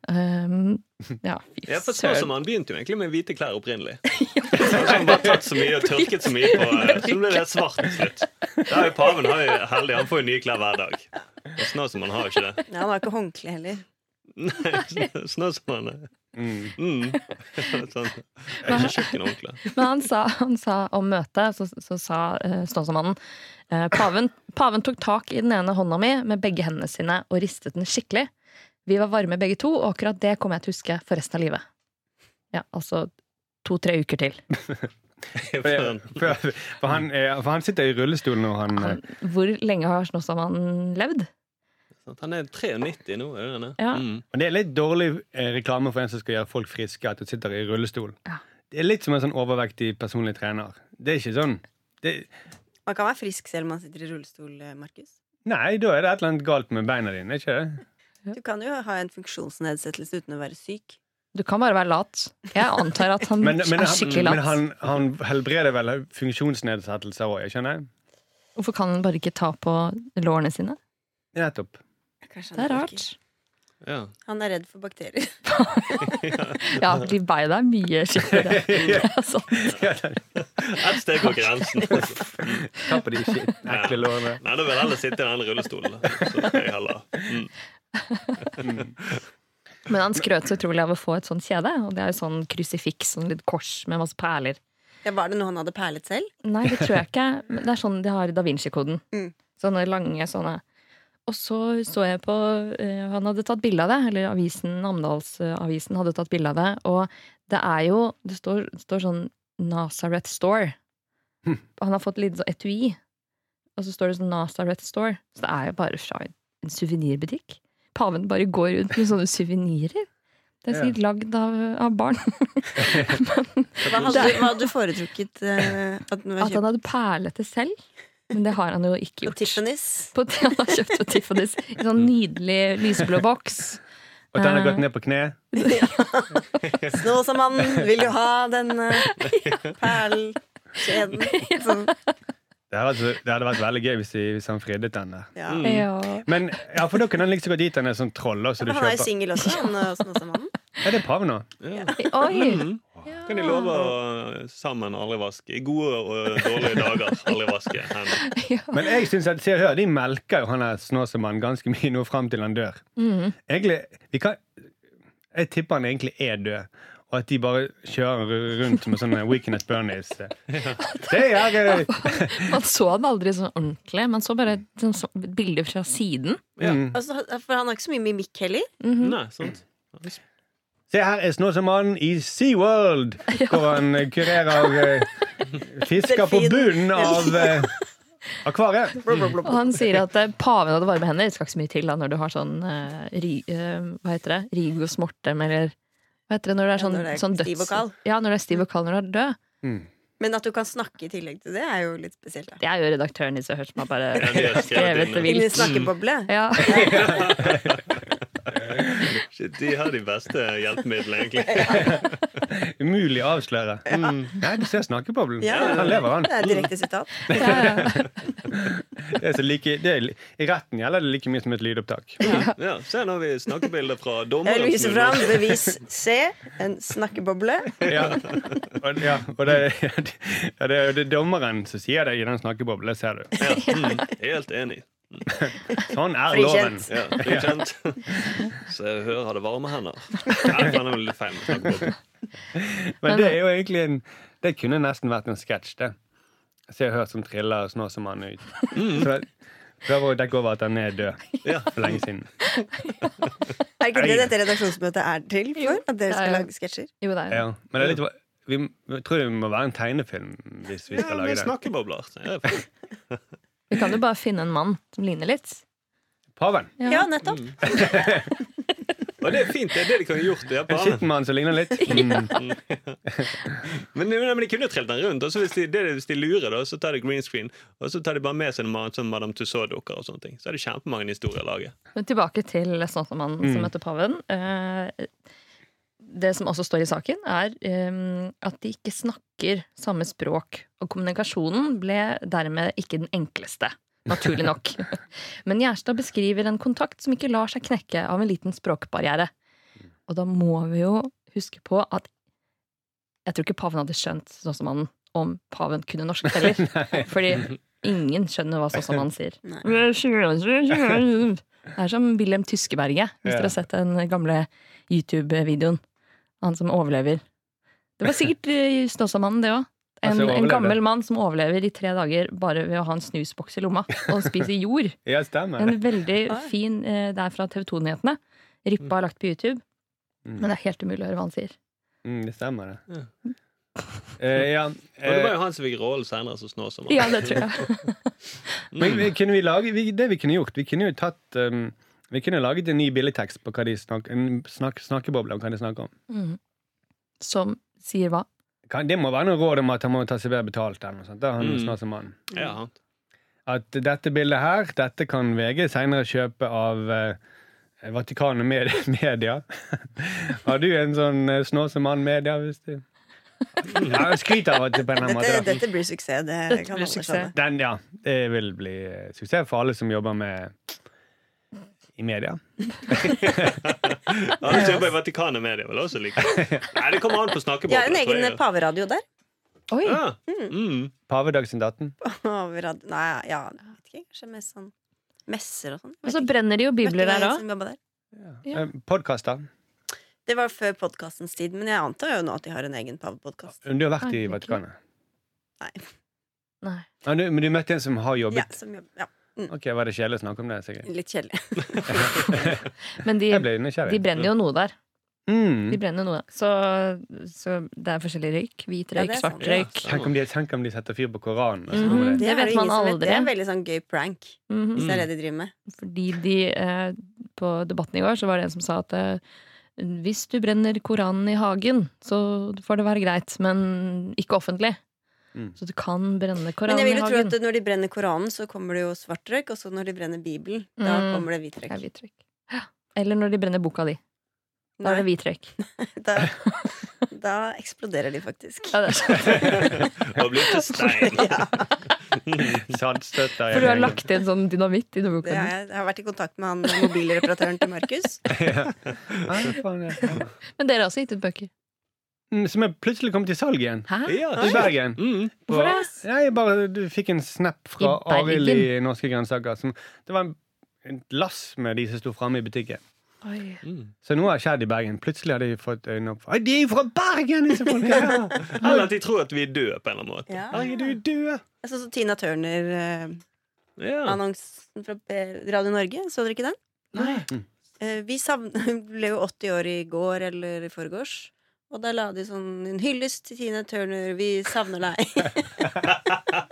Speaker 3: Um, ja, fy
Speaker 4: Ja, for
Speaker 3: søren.
Speaker 4: Snåsamannen begynte jo egentlig med hvite klær
Speaker 3: [laughs]
Speaker 4: opprinnelig. Så har han bare tatt så mye og tørket så mye på eh, Så ble det svart til slutt. Da er jo paven har jo heldig, han får jo nye klær hver dag. Og Snåsamannen har jo ikke det. [laughs]
Speaker 5: Ja, han har ikke håndkle heller.
Speaker 4: Nei, Snåsamannen
Speaker 2: Mm.
Speaker 4: Mm. [laughs] sånn. Jeg er ikke kjøkkenordentlig.
Speaker 3: Men han sa, han sa om møtet, så, så sa eh, stålsamannen eh, paven, paven tok tak i den ene hånda mi med begge hendene sine og ristet den skikkelig. Vi var varme begge to, og akkurat det kommer jeg til å huske for resten av livet. Ja, altså to-tre uker til.
Speaker 2: [laughs]
Speaker 4: Sånn.
Speaker 2: For, for, for, han, er- for han sitter i rullestol når han eh,
Speaker 3: Han, hvor lenge har Snåsamannen levd?
Speaker 4: Sant? Sånn, Han er 93 nå, er det det?
Speaker 3: Ja.
Speaker 4: Mm.
Speaker 2: Og det er litt dårlig eh, reklame for en som skal gjøre folk friske, at du sitter i rullestol.
Speaker 3: Ja.
Speaker 2: Det er litt som en sånn overvektig personlig trener. Det er ikke sånn. Det,
Speaker 5: Man kan være frisk selv om man sitter i rullestol, eh, Markus.
Speaker 2: nei, da er det et eller annet galt med beina dine, ikke det?
Speaker 5: Du kan jo ha en funksjonsnedsettelse uten å være syk.
Speaker 3: Du kan bare være lat. Jeg antar at han
Speaker 2: [laughs] Men, men,
Speaker 3: er skikkelig
Speaker 2: han,
Speaker 3: lat.
Speaker 2: men han, han helbreder vel funksjonsnedsettelser òg, skjønner jeg?
Speaker 3: Hvorfor kan han bare ikke ta på lårene sine?
Speaker 2: [laughs] Nettopp.
Speaker 5: Kanskje
Speaker 3: Det
Speaker 5: han
Speaker 3: er
Speaker 5: ikke-
Speaker 3: rart.
Speaker 4: Ja.
Speaker 5: Han er redd for bakterier. [laughs]
Speaker 3: Ja, de beina er mye skikkelig.
Speaker 2: [laughs]
Speaker 3: Altså,
Speaker 4: Et steg på grensen. [laughs]
Speaker 2: Ta på de skitt- ekle lårene.
Speaker 4: Nei, da vil jeg heller sitte i den rullestolen. Så jeg heller. Mm.
Speaker 3: Men han skrøt så utrolig av å få et sånt kjede. Og det er jo sånn krusifiks, sånn litt kors med masse perler.
Speaker 5: Ja, var det noe han hadde perlet selv?
Speaker 3: Nei, det tror jeg ikke. Men Det er sånn de har i Da Vinci-koden.
Speaker 5: Mm.
Speaker 3: Sånne lange sånne. Og så så jeg på eh, Han hadde tatt bilde av det. Eller avisen, Namdalsavisen hadde tatt bilde av det. Og det er jo Det står, det står sånn Nazareth Store.
Speaker 2: Hm.
Speaker 3: Han har fått litt sånn etui. Og så står det sånn Nazareth Store. Så det er jo bare fra en- en suvenirbutikk. Paven bare går rundt med sånne suvenirer. Det er
Speaker 2: Ja.
Speaker 3: sikkert lagd av, av barn.
Speaker 5: Hva hadde, du- hva hadde du foretrukket eh, at den var
Speaker 3: At han
Speaker 5: kjøpt
Speaker 3: hadde perlete selv. Men det har han jo ikke
Speaker 5: på
Speaker 3: gjort.
Speaker 5: Tiffany's?
Speaker 3: på [laughs] han har kjøpt på Tiffany's i sånn nydelig lyseblå boks. Eh,
Speaker 2: Og den har gått ned på kne.
Speaker 5: Snåsamannen, vil du ha den
Speaker 2: [laughs]
Speaker 5: eh, perlkjeden? Sånn.
Speaker 2: Det hadde, altså- det hadde vært veldig gøy hvis, de, hvis han friddet den der.
Speaker 5: Ja.
Speaker 4: Mm.
Speaker 3: Ja.
Speaker 2: Men ja, for da kunne han like så godt gitt henne en sånn troll. da, Så du
Speaker 5: Men han er jo
Speaker 2: kjøper.
Speaker 5: singel også, han eh,
Speaker 2: [laughs]
Speaker 5: Snåsamannen.
Speaker 2: Ja, det er paven nå.
Speaker 4: Ja.
Speaker 3: Oi!
Speaker 4: Mm. Kan de love å sammen aldri vaske? I gode og dårlige dager aldri vaske hendene.
Speaker 3: Ja.
Speaker 2: Men jeg synes at Se og Hør de melker jo han der Snåsamannen ganske mye nå fram til han dør.
Speaker 3: Mm.
Speaker 2: Egentlig, vi kan, Jeg tipper han egentlig er død, og at de bare kjører ru- rundt med sånne Weekend at
Speaker 3: [laughs]
Speaker 2: Bernies. Det er eh,
Speaker 3: Man så den aldri sånn ordentlig. Man så bare et sånn så- bilder fra siden.
Speaker 2: mm.
Speaker 5: Altså, for han har ikke så mye mimikk heller.
Speaker 3: Mhm.
Speaker 4: Nei, [laughs] sant?
Speaker 2: Se, her er Snåsamannen i
Speaker 5: [laughs]
Speaker 2: SeaWorld, hvor han eh, kurerer eh, fisker på
Speaker 5: Delfin.
Speaker 2: bunnen
Speaker 5: [laughs]
Speaker 2: av eh, akvariet.
Speaker 3: Og han sier at eh, paven hadde varme hender. Det skal ikke så mye til da når du har sånn eh, ri, eh, Hva heter det? Rigos mortem, eller hva heter det når det er
Speaker 5: Ja,
Speaker 3: sånn,
Speaker 5: når det er
Speaker 3: sånn
Speaker 5: stiv vokal.
Speaker 3: døds... Ja, når det er stiv vokal når du er død.
Speaker 2: Mm.
Speaker 5: Men at du kan snakke i tillegg til det, er jo litt spesielt. Da.
Speaker 3: Det er jo redaktøren i Se og Hør som har
Speaker 2: [laughs]
Speaker 4: Ja, de
Speaker 3: bare
Speaker 4: har skrevet
Speaker 3: skrevet
Speaker 4: inn,
Speaker 3: det
Speaker 4: ja.
Speaker 5: Inni
Speaker 3: vilt.
Speaker 5: snakkeboble.
Speaker 3: Ja.
Speaker 4: Shit, de har de beste hjelpemidlene, egentlig.
Speaker 2: Umulig å avsløre. Mm. Nei, du ser snakkeboblen.
Speaker 5: Ja, ja, ja.
Speaker 2: Han lever, han.
Speaker 5: Det er et direkte sitat.
Speaker 3: Ja, ja.
Speaker 2: Det er så like, det er, li- I retten gjelder det like mye som et lydopptak.
Speaker 4: [laughs] Ja, Se, nå har vi snakkebilder fra [laughs]
Speaker 5: Jeg
Speaker 4: dommeren.
Speaker 5: vil vise fram bevis C, en snakkeboble.
Speaker 2: Ja. Og, ja, og det, [laughs] ja, det er det er dommeren som sier det i den snakkeboblen. Det ser du.
Speaker 4: Ja, mm, helt enig.
Speaker 2: Sånn er loven.
Speaker 5: Frikjent.
Speaker 4: Ja, det er kjent. [laughs] Så jeg hører hadde varme [laughs] hender. Nei, faen, det var litt feil å snakke på.
Speaker 2: Men det er jo egentlig en Det kunne nesten vært en sketsj, det. Se og hør som triller Snåsamannen ut. Så Prøver å dekke over at han er død
Speaker 4: Mm. Ja.
Speaker 2: for lenge siden.
Speaker 5: Er ikke det dette redaksjonsmøtet er til for? At dere skal
Speaker 3: det er-
Speaker 5: lage sketsjer?
Speaker 3: Jo, det er det.
Speaker 2: Ja. Men det er litt, vi, vi tror det må være en tegnefilm hvis vi
Speaker 4: Ja,
Speaker 2: skal
Speaker 4: med
Speaker 2: lage det.
Speaker 4: snakkebobler. Det er fint.
Speaker 3: Vi kan jo bare finne en mann som ligner litt.
Speaker 2: Paven.
Speaker 5: Ja, nettopp.
Speaker 4: Og det er fint, det er det de kan ha gjort. Det er
Speaker 2: En
Speaker 4: bare.
Speaker 2: skitmann som ligner
Speaker 4: [laughs]
Speaker 2: litt. Mm.
Speaker 4: Men, men de kunne jo trilt den rundt. Og så hvis, de, det, er det- hvis de lurer, da, så tar de green screen. Og så tar de bare med seg en mann som Madame Tussauds-dukker og sånne ting. Så er det kjempemange historier å lage.
Speaker 3: Men tilbake til Snåsamannen som møtte paven. Eh, Det som også står i saken, er eh, at de ikke snakker samme språk. Og kommunikasjonen ble dermed ikke den enkleste. Naturlig nok. Men Gjerstad beskriver en kontakt som ikke lar seg knekke av en liten språkbarriere. Og da må vi jo huske på at jeg tror ikke paven hadde skjønt Snåsamannen om paven kunne norsk
Speaker 2: [laughs]
Speaker 3: heller. Fordi ingen skjønner hva Snåsamannen sier.
Speaker 5: Nei.
Speaker 3: Det er som Wilhelm Tyskeberget, hvis
Speaker 2: Ja.
Speaker 3: dere har sett den gamle YouTube-videoen. Han som overlever. Det var sikkert eh, Snåsamannen, det òg. En,
Speaker 2: Altså,
Speaker 3: en
Speaker 2: overlevde.
Speaker 3: gammel mann som overlever i tre dager bare ved å ha en snusboks i lomma og spise
Speaker 2: [laughs]
Speaker 3: jord.
Speaker 2: Ja, stemmer.
Speaker 3: En veldig
Speaker 5: Oi.
Speaker 3: fin eh, Det er fra TV 2-nyhetene. Rippa er lagt på YouTube.
Speaker 2: Mm.
Speaker 3: Men det er helt umulig å høre hva han sier.
Speaker 2: Mm, det stemmer, det.
Speaker 4: Ja.
Speaker 2: Eh, ja.
Speaker 4: Og det var
Speaker 2: eh,
Speaker 4: jo han som fikk rollen senere som Mm. Snåsamann.
Speaker 3: Ja, det tror jeg.
Speaker 2: [laughs] men vi, kunne vi lage, vi, det vi kunne gjort, vi kunne jo tatt um, Vi kunne laget en ny billedtekst på hva de snak, en snak, snakkeboble om hva de snakker om.
Speaker 3: Mm. Som sier hva?
Speaker 2: Kan, det må være noe råd om at han må ta seg bedre betalt. Eller noe sånt. Det er han
Speaker 4: Mm.
Speaker 2: snart som mann.
Speaker 4: Ja, han.
Speaker 2: At dette bildet her, dette kan VG senere kjøpe av uh, Vatikanet med, [laughs] Media. Har du en sånn uh, Snåsamann-media, hvis du ja, jeg Skryter av at det på en
Speaker 5: [laughs]
Speaker 2: eller annen
Speaker 5: Dette,
Speaker 2: måte. da.
Speaker 5: dette blir suksess. Det
Speaker 3: Dette
Speaker 5: kan
Speaker 3: blir
Speaker 5: alle
Speaker 3: suksess.
Speaker 5: skjønne.
Speaker 2: Den, ja. Det vil bli eh, suksess for alle som jobber med i media.
Speaker 4: Han som jobber i Vatikanet med det, vel også
Speaker 2: [laughs]
Speaker 4: like. Nei, det kommer an på
Speaker 5: De har en
Speaker 4: snakkebobler, tror
Speaker 5: egen
Speaker 3: eh,
Speaker 4: jeg.
Speaker 5: paveradio [laughs] der.
Speaker 3: Oi!
Speaker 2: Ah.
Speaker 4: Ja. Mm.
Speaker 2: Pavedagsindaten.
Speaker 5: Paveradio. Nei, ja, jeg vet ikke. Kanskje mest sånn messer og sånn.
Speaker 3: Og så brenner de jo bibler der òg.
Speaker 5: òg?
Speaker 3: Ja.
Speaker 2: Ja. Podkaster.
Speaker 5: Det var før podkastens tid, men jeg antar jo nå at de har en egen pavepodkast.
Speaker 2: Du har vært i
Speaker 3: Herregud.
Speaker 2: Vatikanet.
Speaker 5: Nei.
Speaker 3: Nei.
Speaker 2: Ja, du, men du møtte en som har
Speaker 5: Ja,
Speaker 2: jobbet.
Speaker 5: som jobb- ja,
Speaker 2: Ok, Var det kjedelig å snakke om det? sikkert?
Speaker 5: litt kjedelig.
Speaker 2: [laughs]
Speaker 3: Men de,
Speaker 2: Jeg ble
Speaker 3: de
Speaker 2: nysgjerrig.
Speaker 3: brenner jo noe der.
Speaker 2: Mm.
Speaker 3: De brenner noe. Så, så det er forskjellig røyk. Hvit røyk,
Speaker 5: Ja, det er sant.
Speaker 3: svart røyk.
Speaker 4: Ja,
Speaker 2: Tenk om, de, tenk om de setter fyr på Koranen. og så
Speaker 3: Mhm.
Speaker 2: kommer det-
Speaker 3: Det
Speaker 5: er
Speaker 3: vet
Speaker 5: jo
Speaker 3: man
Speaker 5: ingen som vet. Det er en
Speaker 3: aldri.
Speaker 5: veldig sånn gøy prank,
Speaker 3: Mhm.
Speaker 5: hvis det er det de driver med.
Speaker 3: Fordi de eh, På debatten i går så var det en som sa at eh, hvis du brenner Koranen i hagen, så får det være greit, men ikke offentlig.
Speaker 2: Mm.
Speaker 3: Så du kan brenne
Speaker 5: Men
Speaker 3: Koranen i
Speaker 5: jeg vil jo tro
Speaker 3: hagen.
Speaker 5: at når de brenner Koranen, så kommer det jo svart røyk. Og så når de brenner Bibelen, da
Speaker 3: Mm.
Speaker 5: kommer det hvit
Speaker 3: Det
Speaker 5: røyk.
Speaker 3: er hvit røyk. Ja. Eller når de brenner boka di. Da er det
Speaker 5: Nei,
Speaker 3: hvit røyk.
Speaker 5: da, da eksploderer de faktisk.
Speaker 3: Ja, det er sant.
Speaker 2: [laughs]
Speaker 4: [laughs] Og blir til stein.
Speaker 2: Sandstøtter.
Speaker 3: For du
Speaker 2: [laughs]
Speaker 3: har lagt inn sånn dynamitt i den boka
Speaker 5: Det
Speaker 3: di.
Speaker 5: har jeg, jeg har vært i kontakt med han mobilreparatøren til Markus.
Speaker 3: Men dere har også gitt ut bøker.
Speaker 2: Mm, Som er plutselig kommet til salg igjen.
Speaker 3: Hæ?
Speaker 4: Ja,
Speaker 2: I Bergen.
Speaker 4: Mm.
Speaker 3: Hvorfor det?
Speaker 2: Ja, jeg bare du fikk en snap fra
Speaker 3: I
Speaker 2: Arild i
Speaker 3: Bergen?
Speaker 2: Norske Grønnsaker. Som, det var en, et lass med de som sto framme i butikken.
Speaker 3: Oi.
Speaker 4: Mm.
Speaker 2: Så noe har skjedd i Bergen. Plutselig har de fått øynene opp for «Oi, De er jo fra Bergen, disse folka! her!»
Speaker 4: Eller at de tror at vi er døde på en eller annen måte.
Speaker 5: [laughs] Ja.
Speaker 4: Herregud, du er død!
Speaker 5: Jeg så, så Tina Turner-annonsen
Speaker 4: Ja.
Speaker 5: fra B- Radio Norge. Så dere ikke den? Eh, Vi savn- [laughs] Hun ble jo 80 år i går eller i forgårs. Og da la de sånn en hyllest til Tina Turner. Vi savner deg. [laughs]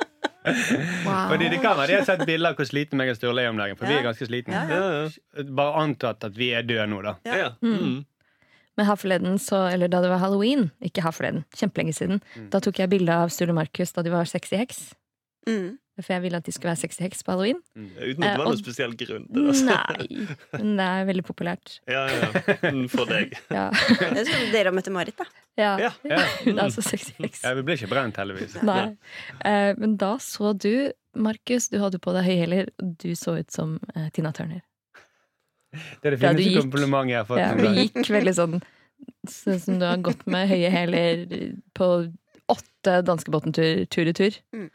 Speaker 3: Wow.
Speaker 2: Fordi det kan være de har sett bilder av hvor sliten meg og Sturle er om dagen. For vi er ganske slitne.
Speaker 5: Ja,
Speaker 4: Ja, ja.
Speaker 2: Bare antatt at vi er døde nå, da.
Speaker 4: Ja.
Speaker 3: Mm.
Speaker 4: Mm.
Speaker 3: Men her forleden, så, eller da det var halloween, ikke her forleden, kjempelenge siden, da tok jeg bilde av Sturle Markus da de var sexy heks.
Speaker 5: Mm.
Speaker 3: For jeg ville at de skulle være sexy heks på halloween. Eh,
Speaker 4: Uten at det var
Speaker 3: og-
Speaker 4: noen spesiell grunn til det. Altså.
Speaker 3: Nei, men det er veldig populært.
Speaker 4: [laughs] Ja, ja. Mm, For deg.
Speaker 3: Ja.
Speaker 5: Det er som dere og Mette-Marit, da.
Speaker 3: ja. [laughs]
Speaker 4: Ja.
Speaker 2: Ja.
Speaker 3: Hun er altså sexy heks.
Speaker 2: Ja, vi ble ikke brent, heldigvis.
Speaker 3: Nei. Eh, Men da så du, Markus, du hadde på deg høyhæler, og du så ut som eh, Tina Turner.
Speaker 2: Det er det
Speaker 3: Ja, du
Speaker 2: fineste
Speaker 3: gikk.
Speaker 2: komplimentet jeg har fått.
Speaker 3: Ja,
Speaker 2: noen
Speaker 3: du
Speaker 2: gang.
Speaker 3: gikk veldig sånn Sånn som du har gått med høye hæler på åtte danskebåtentur tur i tur.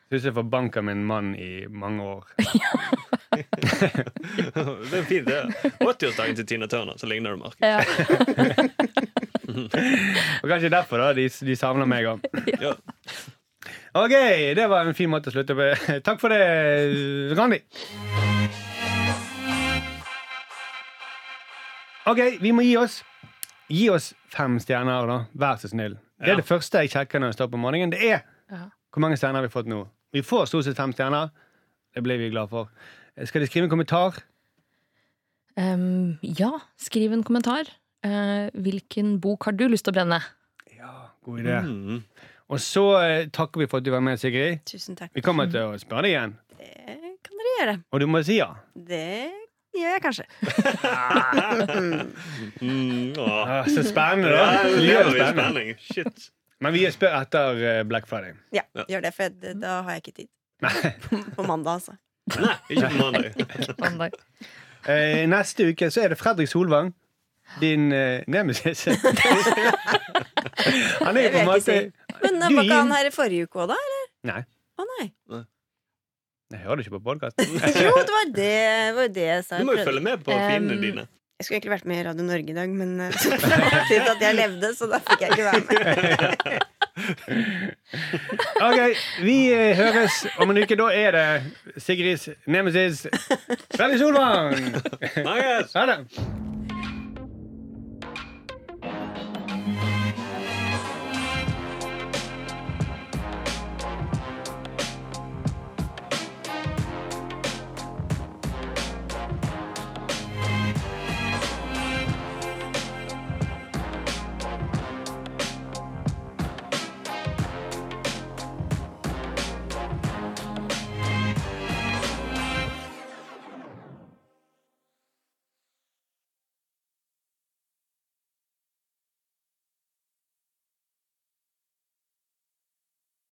Speaker 2: Syns jeg forbanka min mann i mange år.
Speaker 4: [laughs] Det er fint, det. 80-årsdagen til Tina Turner, så ligner du Mark.
Speaker 3: Ja.
Speaker 2: Og kanskje derfor da, de, de savner meg òg.
Speaker 4: Ja.
Speaker 2: OK, det var en fin måte å slutte på. [laughs] Takk for det, Randi. OK, vi må gi oss. Gi oss fem stjerner, da. Vær så snill. Det
Speaker 4: Ja.
Speaker 2: er det første jeg sjekker når jeg står på morgenen. Det er
Speaker 3: Ja.
Speaker 2: hvor mange stjerner har vi fått nå. Vi får stort sett fem stjerner. Det blir vi glad for. Skal de skrive en kommentar?
Speaker 3: Ehm, ja, skriv en kommentar. Eh, hvilken bok har du lyst til å brenne?
Speaker 2: Ja, god idé.
Speaker 4: Mm.
Speaker 2: Og så eh, takker vi for at du var med, Sigrid.
Speaker 5: Tusen takk.
Speaker 2: Vi kommer til å spørre deg igjen,
Speaker 5: Det kan dere gjøre.
Speaker 2: og du må si ja.
Speaker 5: Det gjør jeg kanskje.
Speaker 4: Mm. Åh.
Speaker 2: Ah, så spennende,
Speaker 4: Ja,
Speaker 2: da.
Speaker 4: det lever
Speaker 2: Livet er
Speaker 4: vi i
Speaker 2: spennende.
Speaker 4: spenning. Shit.
Speaker 2: Men vi spør etter eh, Black Friday.
Speaker 5: Ja,
Speaker 4: Ja.
Speaker 5: gjør det, for det- da har jeg ikke tid. [laughs] På mandag, altså.
Speaker 4: Nei, ikke på mandag.
Speaker 3: Mandag.
Speaker 2: Eh, neste uke så er det Fredrik Solvang. Din eh,
Speaker 5: [laughs]
Speaker 2: nemesis. Han er jo på en
Speaker 5: Det vil jeg ikke
Speaker 2: måte
Speaker 5: si. Men eh,
Speaker 2: Du
Speaker 5: var
Speaker 2: gir-
Speaker 5: ikke han her i forrige uke òg, da? Eller?
Speaker 2: Nei,
Speaker 5: Å nei.
Speaker 2: jeg hører du ikke på podkasten.
Speaker 5: Jo, det var det, det var det jeg sa.
Speaker 4: Du
Speaker 5: Jeg
Speaker 4: må jo
Speaker 5: prøvde-
Speaker 4: følge med på fiendene
Speaker 3: Um,
Speaker 4: dine.
Speaker 5: Jeg skulle egentlig vært med i Radio Norge i dag, men eh, [laughs] så fant jeg ut at jeg levde, så da fikk jeg ikke være med.
Speaker 2: Ok, vi eh, høres om en uke. Da er det Sigrids nemesis Sverre Solvang.
Speaker 4: Nei, yes.
Speaker 2: Ha det.